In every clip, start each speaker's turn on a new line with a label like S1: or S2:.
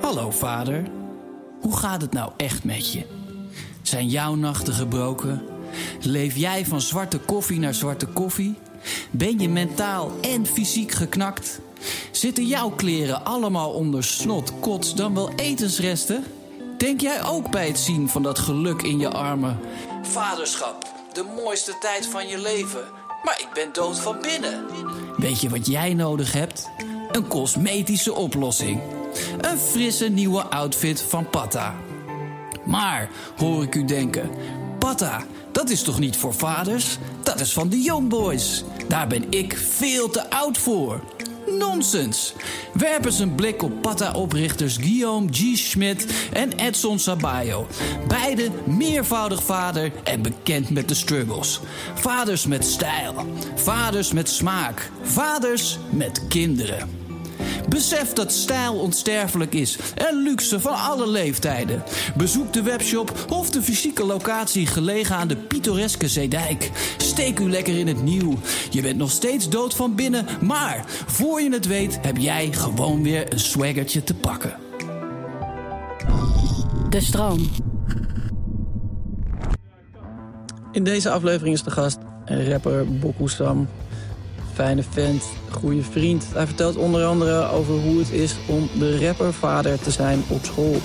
S1: Hallo vader, hoe gaat het nou echt met je? Zijn jouw nachten gebroken? Leef jij van zwarte koffie naar zwarte koffie? Ben je mentaal en fysiek geknakt? Zitten jouw kleren allemaal onder snot, kots, dan wel etensresten? Denk jij ook bij het zien van dat geluk in je armen? Vaderschap, de mooiste tijd van je leven. Maar ik ben dood van binnen. Weet je wat jij nodig hebt? Een cosmetische oplossing. Een frisse nieuwe outfit van Patta. Maar, hoor ik u denken, Patta, dat is toch niet voor vaders? Dat is van de Young Boys. Daar ben ik veel te oud voor. Nonsens. Werp eens een blik op Patta-oprichters Guillaume G. Schmidt en Edson Sabayo. Beide meervoudig vader en bekend met de struggles. Vaders met stijl. Vaders met smaak. Vaders met kinderen. Besef dat stijl onsterfelijk is en luxe van alle leeftijden. Bezoek de webshop of de fysieke locatie gelegen aan de pittoreske Zeedijk. Steek u lekker in het nieuw. Je bent nog steeds dood van binnen, maar voor je het weet heb jij gewoon weer een swaggertje te pakken.
S2: De stroom.
S3: In deze aflevering is de gast rapper Bokko Sam. Fijne vent, goede vriend. Hij vertelt onder andere over hoe het is om de rappervader te zijn op school.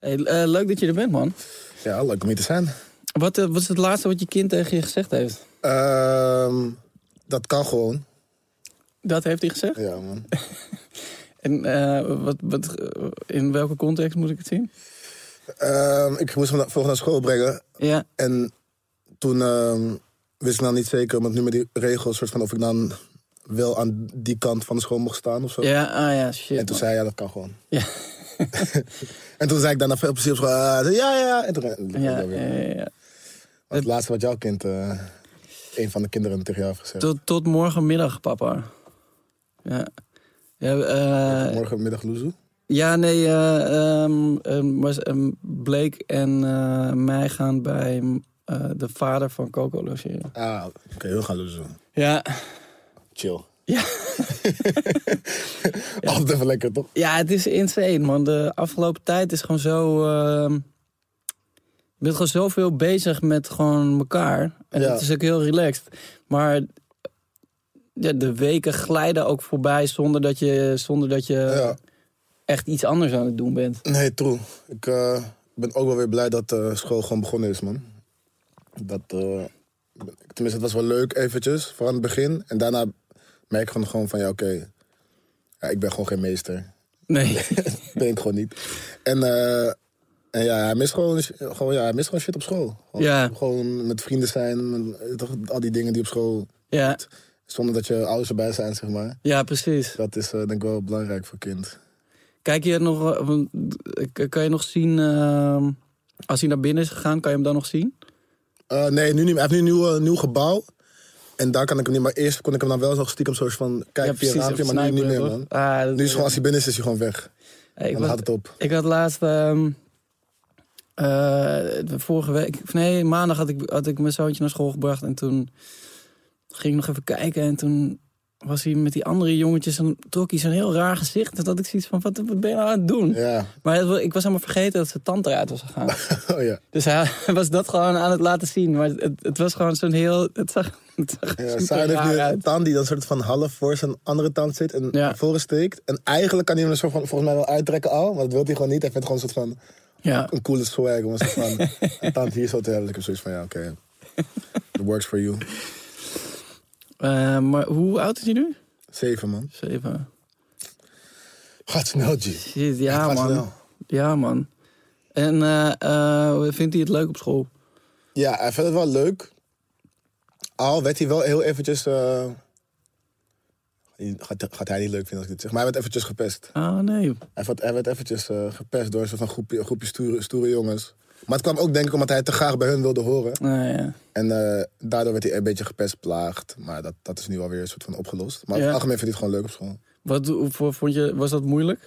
S3: Hey, eh, leuk dat je er bent, man.
S4: Ja, leuk om hier te zijn.
S3: Wat, eh, wat is het laatste wat je kind tegen je gezegd heeft?
S4: Ehm, dat kan gewoon.
S3: Dat heeft hij gezegd?
S4: Ja, man.
S3: En eh, wat, wat, eh, in welke context moet ik het zien?
S4: Ehm, ik moest hem na- volgens naar school brengen.
S3: Ja,
S4: En toen ehm, wist ik nou niet zeker, want nu met die regels, soort van of ik dan wel aan die kant van de school mocht staan of zo.
S3: ja, ah ja, shit.
S4: en toen
S3: man.
S4: zei hij, ja, dat kan gewoon.
S3: Ja.
S4: en toen zei ik daarna veel plezier op school, ah, ja, ja. En toen en toen
S3: Ja, eh,
S4: weer.
S3: ja, ja, ja.
S4: Want het laatste wat jouw kind, eh, een van de kinderen tegen jou heeft gezegd.
S3: Tot, tot morgenmiddag, papa. Ja. Ja, eh,
S4: Morgenmiddag Loezoe.
S3: ja nee, eh, ehm, ehm, was- ehm, Blake en eh, mij gaan bij eh, de vader van Coco logeren.
S4: Ah, oké, heel gaan Loezoe.
S3: Ja,
S4: Chill.
S3: ja.
S4: Altijd even lekker, toch?
S3: Ja, het is insane, man. De afgelopen tijd is gewoon zo. ehm, je bent gewoon zoveel bezig met gewoon elkaar. En
S4: Ja.
S3: dat is ook heel relaxed. Maar ja, de weken glijden ook voorbij zonder dat je, zonder dat je
S4: Ja.
S3: echt iets anders aan het doen bent.
S4: Nee, true. Ik eh, ben ook wel weer blij dat eh, school gewoon begonnen is, man. Dat, eh, tenminste, het was wel leuk eventjes, vooral aan het begin. En daarna merk ik gewoon, gewoon van, ja, oké. Ja, ik ben gewoon geen meester.
S3: Nee.
S4: ben ik gewoon niet. En, eh, en ja, hij mist gewoon, gewoon, ja, hij mist gewoon shit op school. Gewoon,
S3: Ja.
S4: gewoon met vrienden zijn, en, eh, toch, al die dingen die op school...
S3: ja.
S4: Zonder dat je ouders erbij zijn, zeg maar.
S3: ja, precies.
S4: Dat is eh, denk ik wel belangrijk voor kind.
S3: Kijk je nog. eh, want, eh, Kan je nog zien. ehm, als hij naar binnen is gegaan, kan je hem dan nog zien?
S4: Eh, nee, nu niet meer. Hij heeft nu een nieuw, eh, nieuw gebouw. En daar kan ik hem niet. Maar eerst kon ik hem dan wel zo stiekem soort van kijk via het raampje,
S3: even
S4: maar nu niet meer,
S3: snijden,
S4: man.
S3: toch? Ah, dat-
S4: Nu is gewoon, als hij binnen is, is hij gewoon weg.
S3: Hey, ik
S4: Dan
S3: was-
S4: houdt het op.
S3: Ik had laatst. ehm, eh, vorige week. of Nee, maandag had ik, had ik mijn zoontje naar school gebracht. En toen ging ik nog even kijken. En toen was hij met die andere jongetjes. En trok hij zo'n heel raar gezicht. Dat had ik zoiets van: wat, wat ben je nou aan het doen?
S4: Ja.
S3: Maar het wa- ik was helemaal vergeten dat zijn tand eruit was gegaan.
S4: Oh ja.
S3: dus hij was dat gewoon aan het laten zien. Maar het, het was gewoon zo'n heel. Het zag, het zag
S4: ja
S3: super
S4: Saar heeft
S3: raar
S4: nu een
S3: uit.
S4: tand die dan soort van half voor zijn andere tand zit en
S3: Ja.
S4: naar voren steekt. En eigenlijk kan hij hem er soort van, volgens mij wel uittrekken al, maar dat wil hij gewoon niet. Hij vindt gewoon een soort van
S3: Ja.
S4: een coole swag om een soort van een tand hier zo te hebben. Ik heb zoiets van, ja, oké. It works for you.
S3: Eh, maar hoe oud is hij nu?
S4: Zeven, man.
S3: Zeven.
S4: Gaat snel, G.
S3: Shit, ja,
S4: Gaat
S3: man.
S4: snel.
S3: Ja, man. En eh, eh, vindt hij het leuk op school?
S4: Ja, hij vindt het wel leuk. Al werd hij wel heel eventjes... eh, Gaat, gaat hij niet leuk vinden als ik dit zeg. Maar hij werd eventjes gepest.
S3: Ah, nee.
S4: Hij werd, hij werd eventjes eh, gepest door een soort van groepje, groepje stoere, stoere jongens. Maar het kwam ook denk ik omdat hij te graag bij hun wilde horen.
S3: Nou ja.
S4: En eh, daardoor werd hij een beetje gepest, plaagd. Maar dat, dat is nu alweer een soort van opgelost. Maar over
S3: Ja.
S4: het algemeen vind ik het gewoon leuk op school.
S3: Wat hoe- hoe vond je, was dat moeilijk?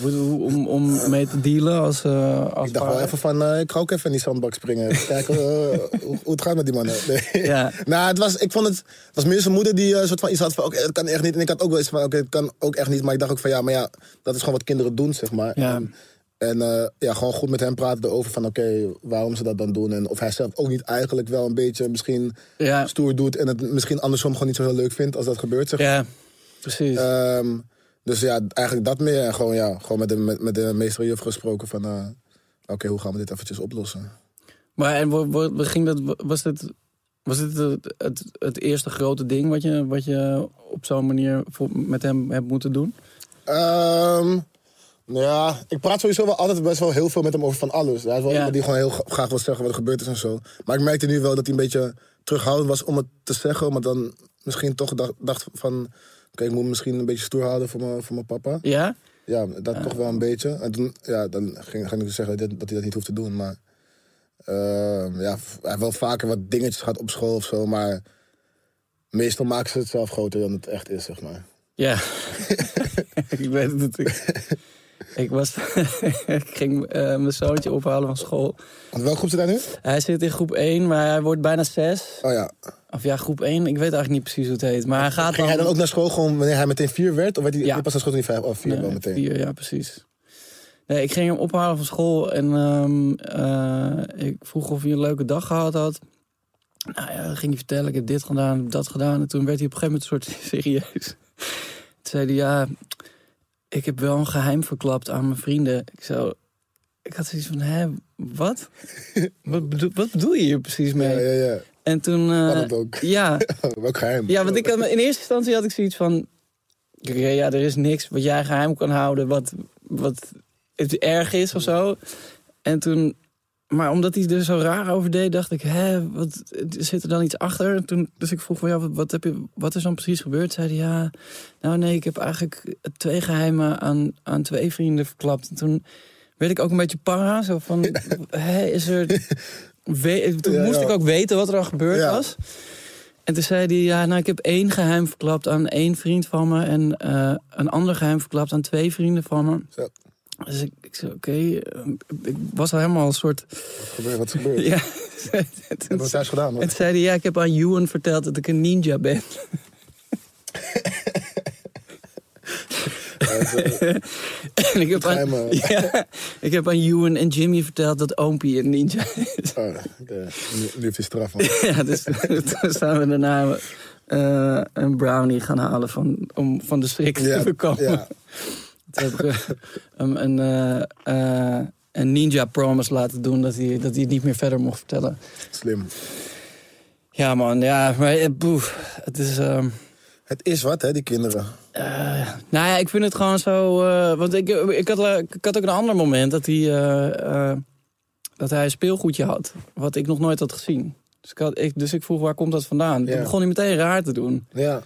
S3: Hoe- hoe- Om, om mee te dealen als. eh als
S4: Ik dacht wel
S3: vader?
S4: even van, eh, ik ga ook even in die zandbak springen. Even kijken eh, hoe, hoe het gaat met die mannen. Nee.
S3: Ja.
S4: Nou, het was, ik vond het, het was meer zijn moeder die eh, soort van iets had van, oké, dat kan echt niet. En ik had ook wel eens van, oké, dat kan ook echt niet. Maar ik dacht ook van, ja, maar ja, dat is gewoon wat kinderen doen, zeg maar.
S3: Ja.
S4: En, en, eh, ja, gewoon goed met hem praten erover van, oké, waarom ze dat dan doen. En of hij zelf ook niet eigenlijk wel een beetje misschien
S3: Ja.
S4: stoer doet. En het misschien andersom gewoon niet zo heel leuk vindt als dat gebeurt, zeg
S3: ja, precies.
S4: Ehm, dus ja, eigenlijk dat meer. En gewoon, ja, gewoon met de, met, met de meester juf gesproken van... eh, Oké, hoe gaan we dit eventjes oplossen?
S3: maar en wo- wo- wo- ging dat, was dit, was dit het, het, het eerste grote ding wat je, wat je op zo'n manier voor- met hem hebt moeten doen?
S4: Ehm, nou ja, ik praat sowieso wel altijd best wel heel veel met hem over van alles. Hij is wel
S3: Ja.
S4: iemand die gewoon heel g- graag wil zeggen wat er gebeurd is en zo. Maar ik merkte nu wel dat hij een beetje terughoudend was om het te zeggen. Maar dan misschien toch dacht, dacht van... Oké, ik moet misschien een beetje stoer houden voor mijn voor mijn papa.
S3: Ja?
S4: Ja, dat toch wel een beetje. En toen, ja, dan ging, ging ik dus zeggen dat, dat hij dat niet hoeft te doen. Maar ehm, ja, v- hij heeft wel vaker wat dingetjes gehad op school of zo. Maar meestal maken ze het zelf groter dan het echt is, zeg maar.
S3: Ja, ik weet het natuurlijk. ik, was, ik ging eh, mijn zoontje ophalen van school.
S4: Want welke groep zit hij nu?
S3: Hij zit in groep 1, maar hij wordt bijna 6.
S4: Oh ja.
S3: Of ja, groep 1, ik weet eigenlijk niet precies hoe het heet. Maar hij gaat
S4: Ging hij dan ook naar school gewoon wanneer hij meteen vier werd? Of werd hij
S3: Ja.
S4: hij pas naar school toen hij vijf of vier
S3: Nee,
S4: wel meteen?
S3: vier, ja, precies. Nee, ik ging hem ophalen van school en ehm, eh, ik vroeg of hij een leuke dag gehad had. Nou ja, dan ging hij vertellen, ik heb dit gedaan, ik heb dat gedaan. En toen werd hij op een gegeven moment een soort serieus. Toen zei hij, ja, ik heb wel een geheim verklapt aan mijn vrienden. Ik zo, ik had zoiets van, hè, wat? wat, bedoel, wat bedoel je hier precies mee?
S4: Ja, ja, ja.
S3: En toen... eh,
S4: Kan het ook.
S3: ja,
S4: Welk geheim?
S3: ja, want ik had, in eerste instantie had ik zoiets van... Oké, ja, er is niks wat jij geheim kan houden wat, wat het erg is of zo. En toen... Maar omdat hij er zo raar over deed, dacht ik... Hé, wat, zit er dan iets achter? En toen, dus ik vroeg van, ja, wat, wat, heb je, wat is dan precies gebeurd? Zei hij, ja... Nou nee, ik heb eigenlijk twee geheimen aan, aan twee vrienden verklapt. En toen werd ik ook een beetje para. Zo van, hé, is er... We- toen
S4: Ja,
S3: moest
S4: ja.
S3: ik ook weten wat er al gebeurd
S4: Ja.
S3: was. En toen zei hij, ja, nou, ik heb één geheim verklapt aan één vriend van me... en eh, een ander geheim verklapt aan twee vrienden van me.
S4: Zo.
S3: Dus ik, ik zei, oké, eh, ik was al helemaal een soort...
S4: Wat gebeurt? Wat gebeurt?
S3: Ja,
S4: Wat
S3: toen,
S4: wordt thuis gedaan?
S3: en
S4: Wat?
S3: toen zei hij, ja, ik heb aan Ewan verteld dat ik een ninja ben.
S4: Ja, het is, eh,
S3: en ik heb,
S4: geheim,
S3: aan,
S4: eh.
S3: ja, ik heb aan Ewan en Jimmy verteld dat Oompie een ninja is.
S4: oh, oké. Nu, nu heeft hij straf, man.
S3: ja, dus toen zijn we daarna eh, een brownie gaan halen van, om van de schrik
S4: Ja,
S3: te bekomen.
S4: ja.
S3: Toen heb ik eh, hem een, eh, eh, een ninja promise laten doen dat hij, dat hij het niet meer verder mocht vertellen.
S4: Slim.
S3: Ja, man, ja, maar eh, boef, het is. ehm,
S4: Het is wat, hè, die kinderen.
S3: eh, nou ja, ik vind het gewoon zo. eh, want ik, ik, had, eh, ik had ook een ander moment dat hij, eh, eh, dat hij een speelgoedje had, wat ik nog nooit had gezien. Dus ik, had, ik, dus ik vroeg waar komt dat vandaan.
S4: Ja.
S3: Toen begon hij meteen raar te doen.
S4: Ja.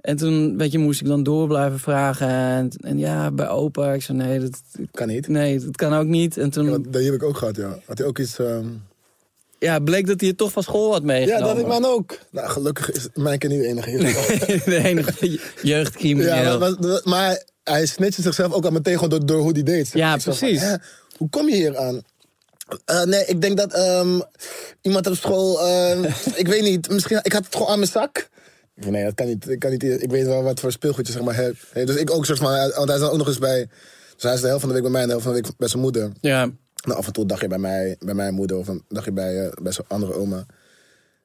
S3: En toen, weet je, moest ik dan door blijven vragen. En, en ja, bij opa. Ik zei, nee dat,
S4: Kan niet.
S3: nee, dat kan ook niet. En
S4: Ja,
S3: toen
S4: want die heb ik ook gehad, ja. Had hij ook iets... ehm,
S3: ja, bleek dat hij het toch van school had meegenomen.
S4: ook. Nou, gelukkig is mijn kind niet de enige hier.
S3: De enige jeugdcrimineel.
S4: ja, maar, maar, maar hij snitste zichzelf ook al meteen gewoon door, door hoe die deed.
S3: Ja,
S4: Ik zag
S3: precies.
S4: hè, hoe kom je hier aan? Eh, nee, ik denk dat ehm, iemand op school... ehm, ik weet niet, misschien... Ik had het gewoon aan mijn zak. Ik zei, Nee, dat kan niet. Ik, kan niet, ik weet wel wat voor speelgoedjes zeg maar, heb. Nee, Dus ik ook soort van... Want hij is dan ook nog eens bij... Dus hij is de helft van de week bij mij en de helft van de week bij zijn moeder.
S3: ja.
S4: Nou, af en toe dacht je bij, mij, bij mijn moeder of een dagje bij, eh, bij zo'n andere oma.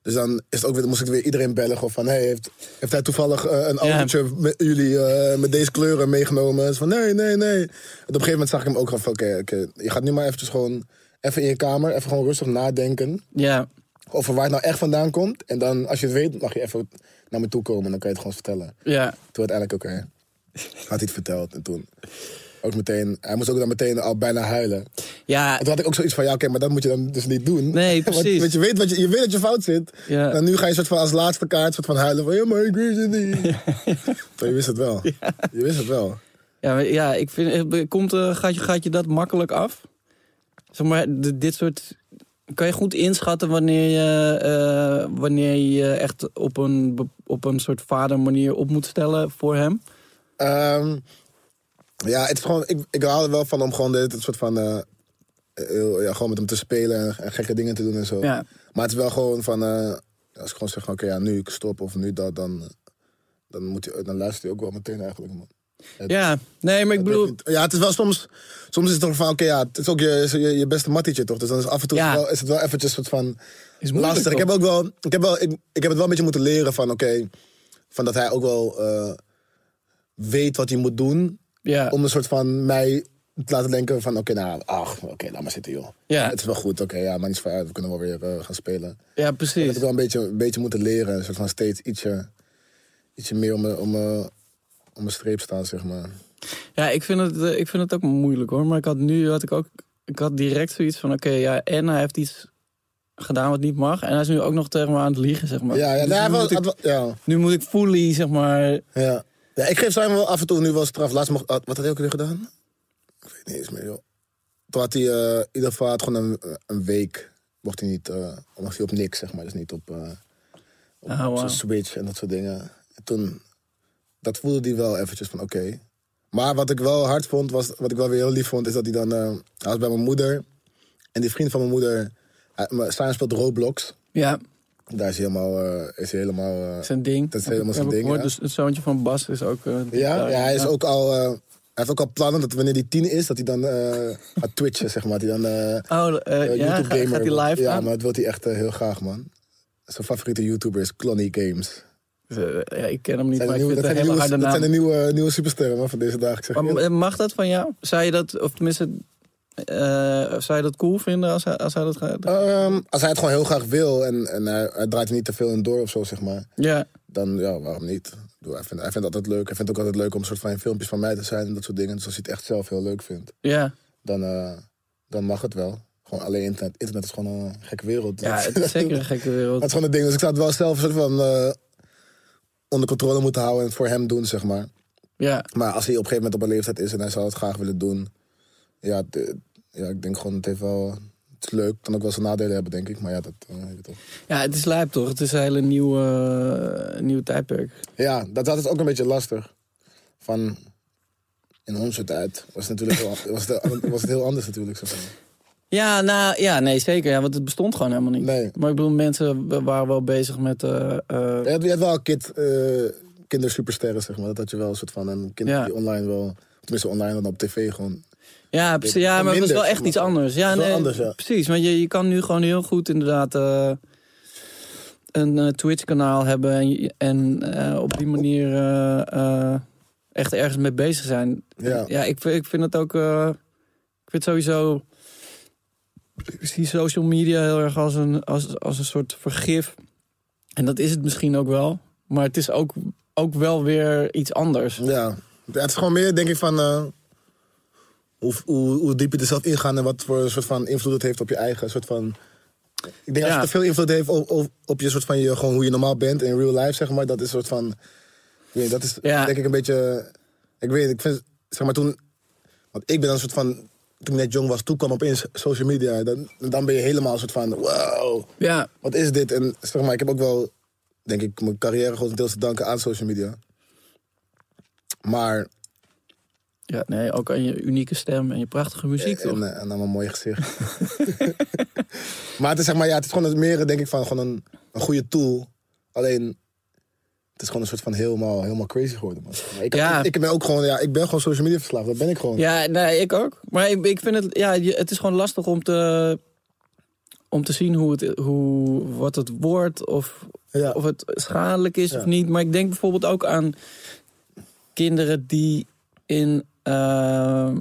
S4: Dus dan is het ook weer, moest ik weer iedereen bellen. Gewoon van, hey, heeft, heeft hij toevallig eh, een
S3: Ja.
S4: autootje met jullie eh, met deze kleuren meegenomen? Dus van, nee, nee, nee. En op een gegeven moment zag ik hem ook gewoon van, oké, oké, je gaat nu maar eventjes gewoon even in je kamer. Even gewoon rustig nadenken
S3: ja.
S4: over waar het nou echt vandaan komt. En dan, als je het weet, mag je even naar me toe komen. Dan kan je het gewoon vertellen.
S3: Ja.
S4: Toen uiteindelijk ook, hè. Had hij het verteld. En toen ook meteen, hij moest ook dan meteen al bijna huilen.
S3: Ja.
S4: En toen had ik ook zoiets van, ja, oké, maar dat moet je dan dus niet doen.
S3: Nee,
S4: Want-
S3: precies.
S4: Want, je, weet wat je, je weet dat je fout zit.
S3: Ja.
S4: En nu ga je soort van als laatste kaart soort van huilen van, ja, maar ik wist het niet. Maar je wist het wel. Je wist het wel.
S3: Ja, maar ja, ik vind, eh, komt, eh, gaat, je, gaat je dat makkelijk af? zeg maar, d- dit soort... Kan je goed inschatten wanneer je eh, wanneer je je echt op een, be- op een soort vadermanier op moet stellen voor hem?
S4: Ehm, ja, het is gewoon, ik, ik hou er wel van om gewoon dit een soort van. eh, heel- ja, gewoon met hem te spelen en, en gekke dingen te doen en zo.
S3: Ja.
S4: Maar het is wel gewoon van. eh, als ik gewoon zeg: van, oké, ja, nu ik stop of nu dat, dan, dan, moet je, dan luistert hij ook wel meteen eigenlijk. Man.
S3: ja, nee, maar ik bedoel...
S4: Ja, het is wel soms. Soms is het toch van: oké, ja, het is ook je, je, je beste mattietje toch? Dus dan is af en toe
S3: Ja.
S4: wel, is het wel eventjes soort van.
S3: Is moeilijk,
S4: lastig. Ik heb ook wel. Ik heb, wel ik, ik heb het wel een beetje moeten leren van: oké. van dat hij ook wel eh, weet wat hij moet doen
S3: Ja,
S4: om een soort van mij te laten denken van... oké, nou, ach, oké, laat maar zitten, joh.
S3: Ja.
S4: Het is wel goed, oké, ja, maar niet voor uit. We kunnen wel weer eh, gaan spelen. Dat
S3: ja
S4: heb
S3: precies.
S4: ik wel een beetje, een beetje moeten leren. Een soort van steeds ietsje, ietsje meer om mijn om, eh, om mijn streep staan, zeg maar.
S3: Ja, ik vind, het, eh, ik vind het ook moeilijk hoor. Maar ik had nu had ik ook. Ik had direct zoiets van: oké, ja, en hij heeft iets gedaan wat niet mag. En hij is nu ook nog tegen me aan het liegen, zeg maar.
S4: Ja, ja,
S3: Dus
S4: nou,
S3: nu,
S4: wel-
S3: moet ik,
S4: wel- ja,
S3: nu moet ik fully, zeg maar.
S4: ja. ja, ik geef zijn wel af en toe nu wel straf. Laatst mocht, had- wat had hij ook weer gedaan? Ik weet niet eens meer, joh. Toen had hij eh, in ieder geval had gewoon een, eh, een week... mocht hij niet... eh, mocht hij op niks, zeg maar. Dus niet op... eh, op
S3: Ah, wauw.
S4: zo'n Switch en dat soort dingen. En toen, dat voelde hij wel eventjes van oké. Maar wat ik wel hard vond, was, wat ik wel weer heel lief vond, is dat hij dan... eh, hij was bij mijn moeder. En die vriend van mijn moeder, hij, mijn- Simon speelt Roblox.
S3: Ja,
S4: Daar is hij helemaal... eh, is hij helemaal eh,
S3: zijn ding.
S4: Dat is helemaal
S3: Heb
S4: zijn
S3: ik
S4: ding,
S3: gehoord.
S4: ja.
S3: Dus het zoontje van Bas is ook. eh,
S4: ja,
S3: daar.
S4: ja, hij is ook al... eh, hij heeft ook al plannen dat wanneer hij tien is, dat hij dan eh, gaat twitchen, zeg maar. Dat hij dan... eh,
S3: Oh, eh,
S4: eh,
S3: ja,
S4: YouTube
S3: gaat,
S4: gamer
S3: gaat hij
S4: wordt.
S3: live
S4: Ja,
S3: gaan?
S4: maar dat wil hij echt eh, heel graag, man. Zijn favoriete YouTuber is Clonny Games.
S3: Eh, ja, ik ken hem niet,
S4: Zijn de
S3: maar
S4: nieuwe-
S3: ik
S4: dat, zijn de
S3: vind het een hele
S4: nieuwe,
S3: harde
S4: dat
S3: naam.
S4: zijn de nieuwe, nieuwe supersterren man, van deze dagen. Ik zeg je
S3: Maar,
S4: eerlijk.
S3: eh, mag dat van jou? Zou je dat, of tenminste, eh, zou je dat cool vinden als hij, als hij dat gaat?
S4: Ehm, als hij het gewoon heel graag wil en, en hij, hij draait er niet te veel in door of zo, zeg maar.
S3: Ja,
S4: Dan ja, waarom niet? Ik bedoel, Hij vindt, hij vindt het altijd leuk. Hij vindt het ook altijd leuk om een soort van in filmpjes van mij te zijn en dat soort dingen. Dus als hij het echt zelf heel leuk vindt,
S3: ja.
S4: dan, eh, dan mag het wel. Gewoon alleen internet. Internet is gewoon een gekke wereld.
S3: Ja, het is zeker een gekke wereld.
S4: Dat is gewoon het ding. Dus ik zou het wel zelf een soort van eh, onder controle moeten houden en het voor hem doen, zeg maar.
S3: Ja,
S4: Maar als hij op een gegeven moment op een leeftijd is en hij zou het graag willen doen. Ja, de- ja ik denk gewoon, het heeft wel. Het is leuk, het kan ook wel zijn nadelen hebben, denk ik. Maar ja, dat. eh, je weet toch.
S3: ja het is lijp toch? Het is een hele nieuwe, eh, nieuw tijdperk.
S4: Ja, dat, dat is ook een beetje lastig. Van. In onze tijd was het natuurlijk heel, was het, was het heel anders, natuurlijk. Zo. van.
S3: Ja, nou, ja, nee, zeker. Ja, want het bestond gewoon helemaal niet.
S4: Nee.
S3: Maar ik bedoel, mensen wa- waren wel bezig met... eh, eh,
S4: Je had, je had wel kid, eh kindersupersterren, zeg maar. Dat had je wel een soort van. En kinderen
S3: Ja.
S4: die online wel. Tenminste, online dan op tv gewoon.
S3: ja, precies. Ja, maar het was
S4: Minder,
S3: wel
S4: zeg
S3: echt
S4: maar.
S3: iets anders. Ja,
S4: Het is wel
S3: nee,
S4: anders, ja.
S3: Precies, want je, je kan nu gewoon heel goed inderdaad... eh, een eh, Twitch-kanaal hebben en, je- en eh, op die manier eh, eh, echt ergens mee bezig zijn.
S4: Ja.
S3: ja ik, vind- ik vind het ook... eh, ik vind sowieso... Ik zie social media heel erg als een, als, als een soort vergif. En dat is het misschien ook wel. Maar het is ook, ook wel weer iets anders.
S4: Ja. ja, het is gewoon meer, denk ik, van eh, hoe, hoe, hoe diep je er zelf in gaat en wat voor soort van invloed het heeft op je eigen soort van. Ik denk als
S3: Ja.
S4: het te veel invloed heeft op, op, op je soort van je, gewoon hoe je normaal bent in real life, zeg maar, dat is soort van. Nee, dat is
S3: Ja.
S4: denk ik een beetje. Ik weet, ik vind, zeg maar toen. Want ik ben een soort van. Toen ik net jong was, toen kwam opeens social media. Dan, dan ben je helemaal een soort van. Wow,
S3: Ja,
S4: wat is dit? En zeg maar, ik heb ook wel, denk ik, mijn carrière grotendeels te danken aan social media. Maar
S3: ja nee, ook aan je unieke stem en je prachtige muziek.
S4: En,
S3: toch?
S4: eh, en dan een mooi gezicht. maar het is zeg maar, ja, het is gewoon het meer, denk ik, van gewoon een, een goede tool. Alleen, het is gewoon een soort van helemaal, helemaal crazy geworden. Man. Maar Ik,
S3: Ja.
S4: ik, ik ben ook gewoon, ja, ik ben gewoon social media verslaafd. Dat ben ik gewoon.
S3: Ja, nee, ik ook. Maar ik, ik vind het, ja, je- het is gewoon lastig om te, om te zien hoe het, hoe, wat het wordt of,
S4: Ja.
S3: of het schadelijk is
S4: Ja.
S3: of niet. Maar ik denk bijvoorbeeld ook aan kinderen die in, ehm,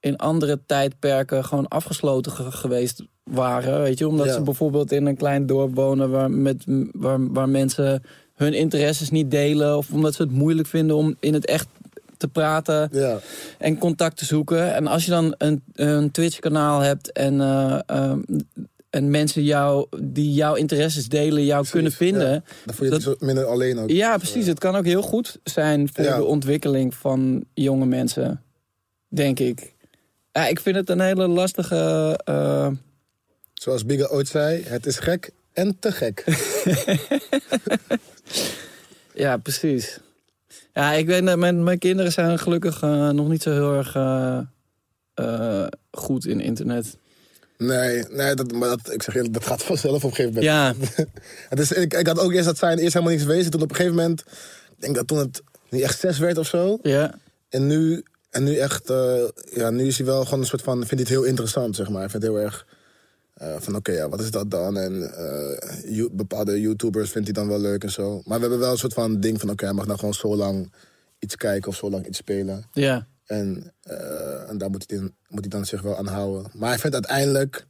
S3: in andere tijdperken gewoon afgesloten ge- geweest waren. Weet je, omdat
S4: Ja.
S3: ze bijvoorbeeld in een klein dorp wonen waar, met, waar, waar mensen hun interesses niet delen of omdat ze het moeilijk vinden om in het echt te praten
S4: Ja,
S3: en contact te zoeken. En als je dan een, een Twitch-kanaal hebt en, eh, ehm, en mensen jou, die jouw interesses delen, jou kunnen vinden.
S4: ja. dan voel je het zo minder alleen ook. eh,
S3: Ja, precies. Het kan ook heel goed zijn voor
S4: Ja.
S3: de ontwikkeling van jonge mensen, denk ik. Ja, ik vind het een hele lastige... eh,
S4: Zoals Bigger ooit zei, het is gek en te gek.
S3: Ja, precies. Ja, ik weet dat mijn, mijn kinderen zijn gelukkig eh, nog niet zo heel erg eh, eh, goed in internet.
S4: Nee, nee dat, maar dat, ik zeg eerlijk, dat gaat vanzelf op een gegeven moment.
S3: Ja,
S4: Het is, dus ik, ik had ook eerst dat zijn eerst helemaal niks wezen. Toen op een gegeven moment, ik denk dat toen het niet echt zes werd of zo.
S3: ja,
S4: En nu, en nu echt, eh, ja, nu is hij wel gewoon een soort van, vindt hij het heel interessant, zeg maar. Hij vindt het heel erg eh, van, oké, ja, wat is dat dan? En eh, you- bepaalde YouTubers vindt hij dan wel leuk en zo. Maar we hebben wel een soort van ding van, oké, hij mag nou gewoon zo lang iets kijken of zo lang iets spelen.
S3: ja.
S4: En, eh, en daar moet hij, dan- moet hij dan zich wel aan houden. Maar hij vindt uiteindelijk,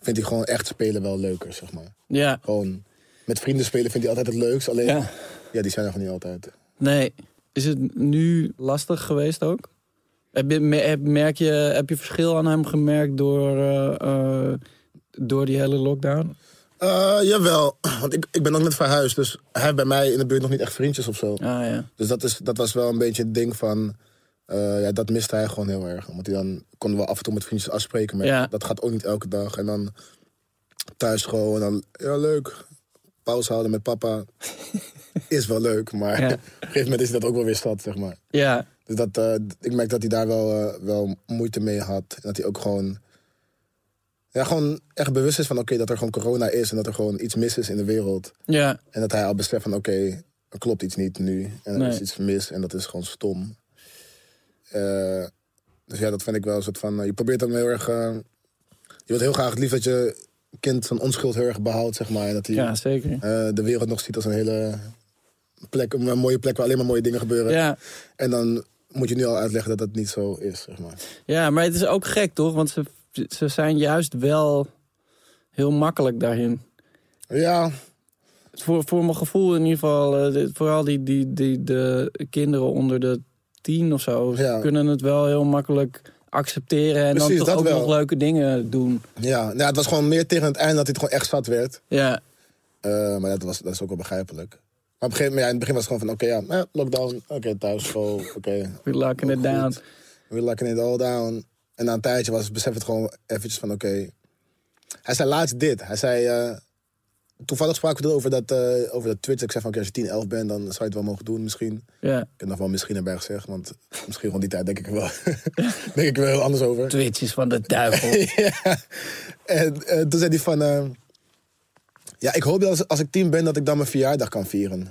S4: vindt hij gewoon echt spelen wel leuker, zeg maar.
S3: Ja,
S4: Gewoon, met vrienden spelen vindt hij altijd het leukst. Alleen,
S3: Ja.
S4: ja, die zijn er gewoon niet altijd.
S3: nee. Is het nu lastig geweest ook? Heb je, me- heb- merk je, heb je verschil aan hem gemerkt door, eh, eh, door die hele lockdown?
S4: Eh, jawel, want ik, ik ben ook net verhuisd. Dus hij heeft bij mij in de buurt nog niet echt vriendjes of zo.
S3: Ah ja,
S4: Dus dat, is, dat was wel een beetje het ding van... eh, ja, dat miste hij gewoon heel erg. Want hij dan konden we af en toe met vriendjes afspreken. Maar
S3: Ja.
S4: dat gaat ook niet elke dag. En dan thuis gewoon. En dan, ja, leuk. Pauze houden met papa. is wel leuk. Maar
S3: Ja.
S4: op een gegeven moment is dat ook wel weer stad, zeg maar.
S3: ja,
S4: Dus dat, eh, d- ik merk dat hij daar wel, eh, wel moeite mee had. En dat hij ook gewoon... Ja, gewoon echt bewust is van oké, dat er gewoon corona is. En dat er gewoon iets mis is in de wereld.
S3: ja.
S4: En dat hij al beseft van oké, er klopt iets niet nu. En er
S3: Nee.
S4: is iets mis en dat is gewoon stom. Eh, dus ja, dat vind ik wel een soort van... eh, je probeert hem heel erg... eh, je wilt heel graag het liefst dat je kind zijn onschuld heel erg behoudt, zeg maar. En dat hij
S3: Ja, zeker.
S4: eh, de wereld nog ziet als een hele plek, een mooie plek waar alleen maar mooie dingen gebeuren.
S3: Ja.
S4: En dan moet je nu al uitleggen dat dat niet zo is, zeg maar.
S3: Ja, maar het is ook gek, toch? Want ze, ze zijn juist wel heel makkelijk daarin.
S4: Ja,
S3: Voor, voor mijn gevoel in ieder geval, eh, dit- vooral die, die, die de kinderen onder de tien of zo, ze
S4: Ja.
S3: kunnen het wel heel makkelijk accepteren en
S4: Precies,
S3: dan toch
S4: dat
S3: ook
S4: wel.
S3: nog leuke dingen doen.
S4: ja. Nou, het was gewoon meer tegen het einde dat hij het gewoon echt zat werd.
S3: Ja,
S4: Eh, maar dat, was, dat is ook wel begrijpelijk. Maar op een gegeven moment, ja, in het begin was het gewoon van, oké, ja, eh, lockdown, oké, thuis, school, oké.
S3: we lakken het
S4: Ook
S3: down.
S4: goed. We're locking it all down. En na een tijdje was besef het gewoon eventjes van, oké. Hij zei laatst dit. Hij zei, eh, toevallig spraken we erover dat, eh, over dat Twitch. Ik zei van, oké, als je 10, 11 bent, dan zou je het wel mogen doen misschien.
S3: Ja.
S4: Ik heb nog wel misschien erbij gezegd, want misschien rond die tijd denk ik er wel, denk ik er wel heel anders over.
S3: Twitch is van de duivel.
S4: Ja. En eh, toen zei hij van... eh, ja, ik hoop dat als, als ik tien ben, dat ik dan mijn verjaardag kan vieren.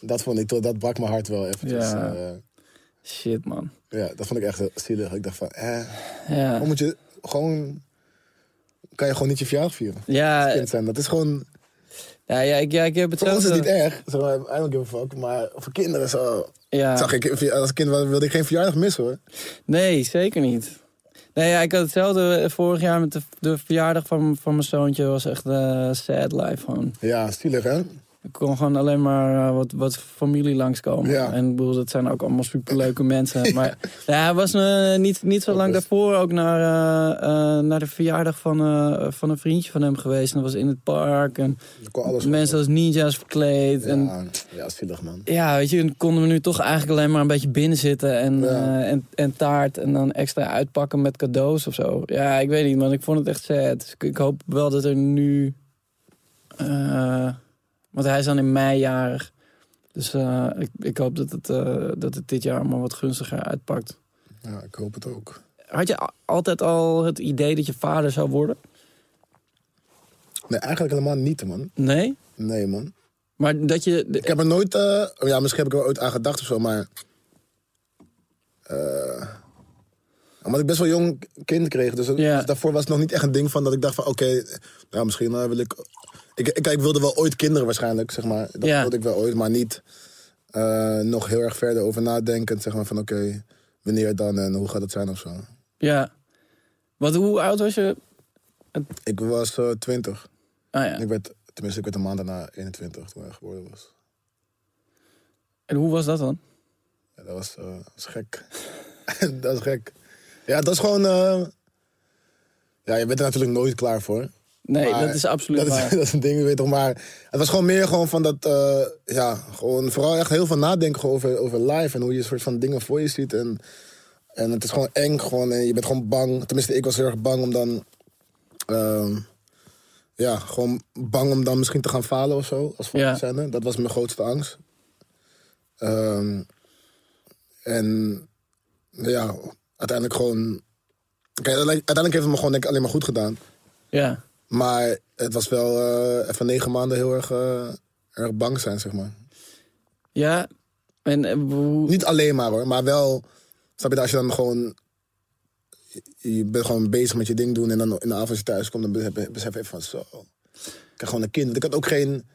S4: Dat vond ik, toch- dat brak mijn hart wel eventjes.
S3: Ja.
S4: Eh,
S3: Shit, man.
S4: ja, dat vond ik echt eh, zielig. Ik dacht van, eh,
S3: Ja,
S4: waarom moet je gewoon... Kan je gewoon niet je verjaardag vieren?
S3: ja,
S4: Kind zijn, dat is gewoon...
S3: ja, ja, ik, ja ik heb
S4: Voor ons is het niet
S3: hetzelfde.
S4: erg. Zeg maar, I don't give a fuck. Maar voor kinderen zo...
S3: Ja.
S4: Zag ik, als kind wilde ik geen verjaardag missen hoor.
S3: Nee, zeker niet. Nee, ja, ik had hetzelfde eh, vorig jaar met de, de verjaardag van, van mijn zoontje. was echt eh sad life gewoon.
S4: Ja, zielig hè?
S3: Ik kon gewoon alleen maar eh, wat, wat familie langskomen.
S4: Ja.
S3: En ik bedoel, dat zijn ook allemaal superleuke mensen. Maar ja, hij was eh, niet, niet zo lang
S4: best.
S3: daarvoor ook naar, eh, eh, naar de verjaardag van, eh, van een vriendje van hem geweest. En dat was in het park. En
S4: Er kon alles
S3: mensen als ninja's verkleed. En
S4: ja, ja, zielig man.
S3: ja, weet je, dan konden we nu toch eigenlijk alleen maar een beetje binnen zitten en,
S4: Ja.
S3: eh, en, en taart en dan extra uitpakken met cadeaus of zo. Ja, ik weet niet, man. Ik vond het echt sad. Dus ik, ik hoop wel dat er nu... eh, want hij is dan in mei jarig. Dus eh, ik, ik hoop dat het, eh, dat het dit jaar allemaal wat gunstiger uitpakt.
S4: Ja, ik hoop het ook.
S3: Had je a- altijd al het idee dat je vader zou worden?
S4: Nee, eigenlijk helemaal niet, man.
S3: Nee?
S4: Nee, man.
S3: Maar dat je... de-
S4: Ik heb er nooit... eh, oh ja, misschien heb ik er ooit aan gedacht of zo, maar... eh, omdat ik best wel jong kind kreeg. Dus,
S3: Ja.
S4: dus daarvoor was het nog niet echt een ding van dat ik dacht van... Oké, nou, misschien eh, wil ik... Ik, ik, kijk, ik wilde wel ooit kinderen waarschijnlijk, zeg maar. Dat
S3: Ja.
S4: wilde ik wel ooit, maar niet eh, nog heel erg verder over nadenkend. Zeg maar van oké, wanneer dan en hoe gaat het zijn of zo.
S3: Ja. Wat, hoe oud was je?
S4: Ik was eh 20.
S3: Ah ja.
S4: Ik werd, tenminste, ik werd een maand daarna 21 toen ik geboren was.
S3: En hoe was dat dan?
S4: Ja, dat was, eh, dat is gek. dat is gek. Ja, dat is gewoon. eh, Ja, je bent er natuurlijk nooit klaar voor.
S3: Nee,
S4: Maar
S3: dat is absoluut
S4: Dat
S3: waar.
S4: is, dat is een ding, weet je toch. Maar het was gewoon meer gewoon van dat. eh, ja, gewoon vooral echt heel veel nadenken gewoon over, over life en hoe je soort van dingen voor je ziet. En En het is gewoon eng, gewoon, en je bent gewoon bang. Tenminste, ik was heel erg bang om dan... ehm, ja, gewoon bang om dan misschien te gaan falen of zo. Als
S3: Ja.
S4: voorzitter. Dat was mijn grootste angst. Ehm, en ja, uiteindelijk gewoon... Kijk, uiteindelijk uiteindelijk heeft het me gewoon denk ik, alleen maar goed gedaan.
S3: Ja.
S4: Maar het was wel eh, even negen maanden heel erg, eh, erg bang zijn, zeg maar.
S3: Ja. En eh, hoe...
S4: Niet alleen maar hoor, maar wel. Snap je, als je dan gewoon. Je je bent gewoon bezig met je ding doen en dan in de avond als je thuis komt, dan besef- besef je even van zo. Ik heb gewoon een kind. Want ik had ook geen.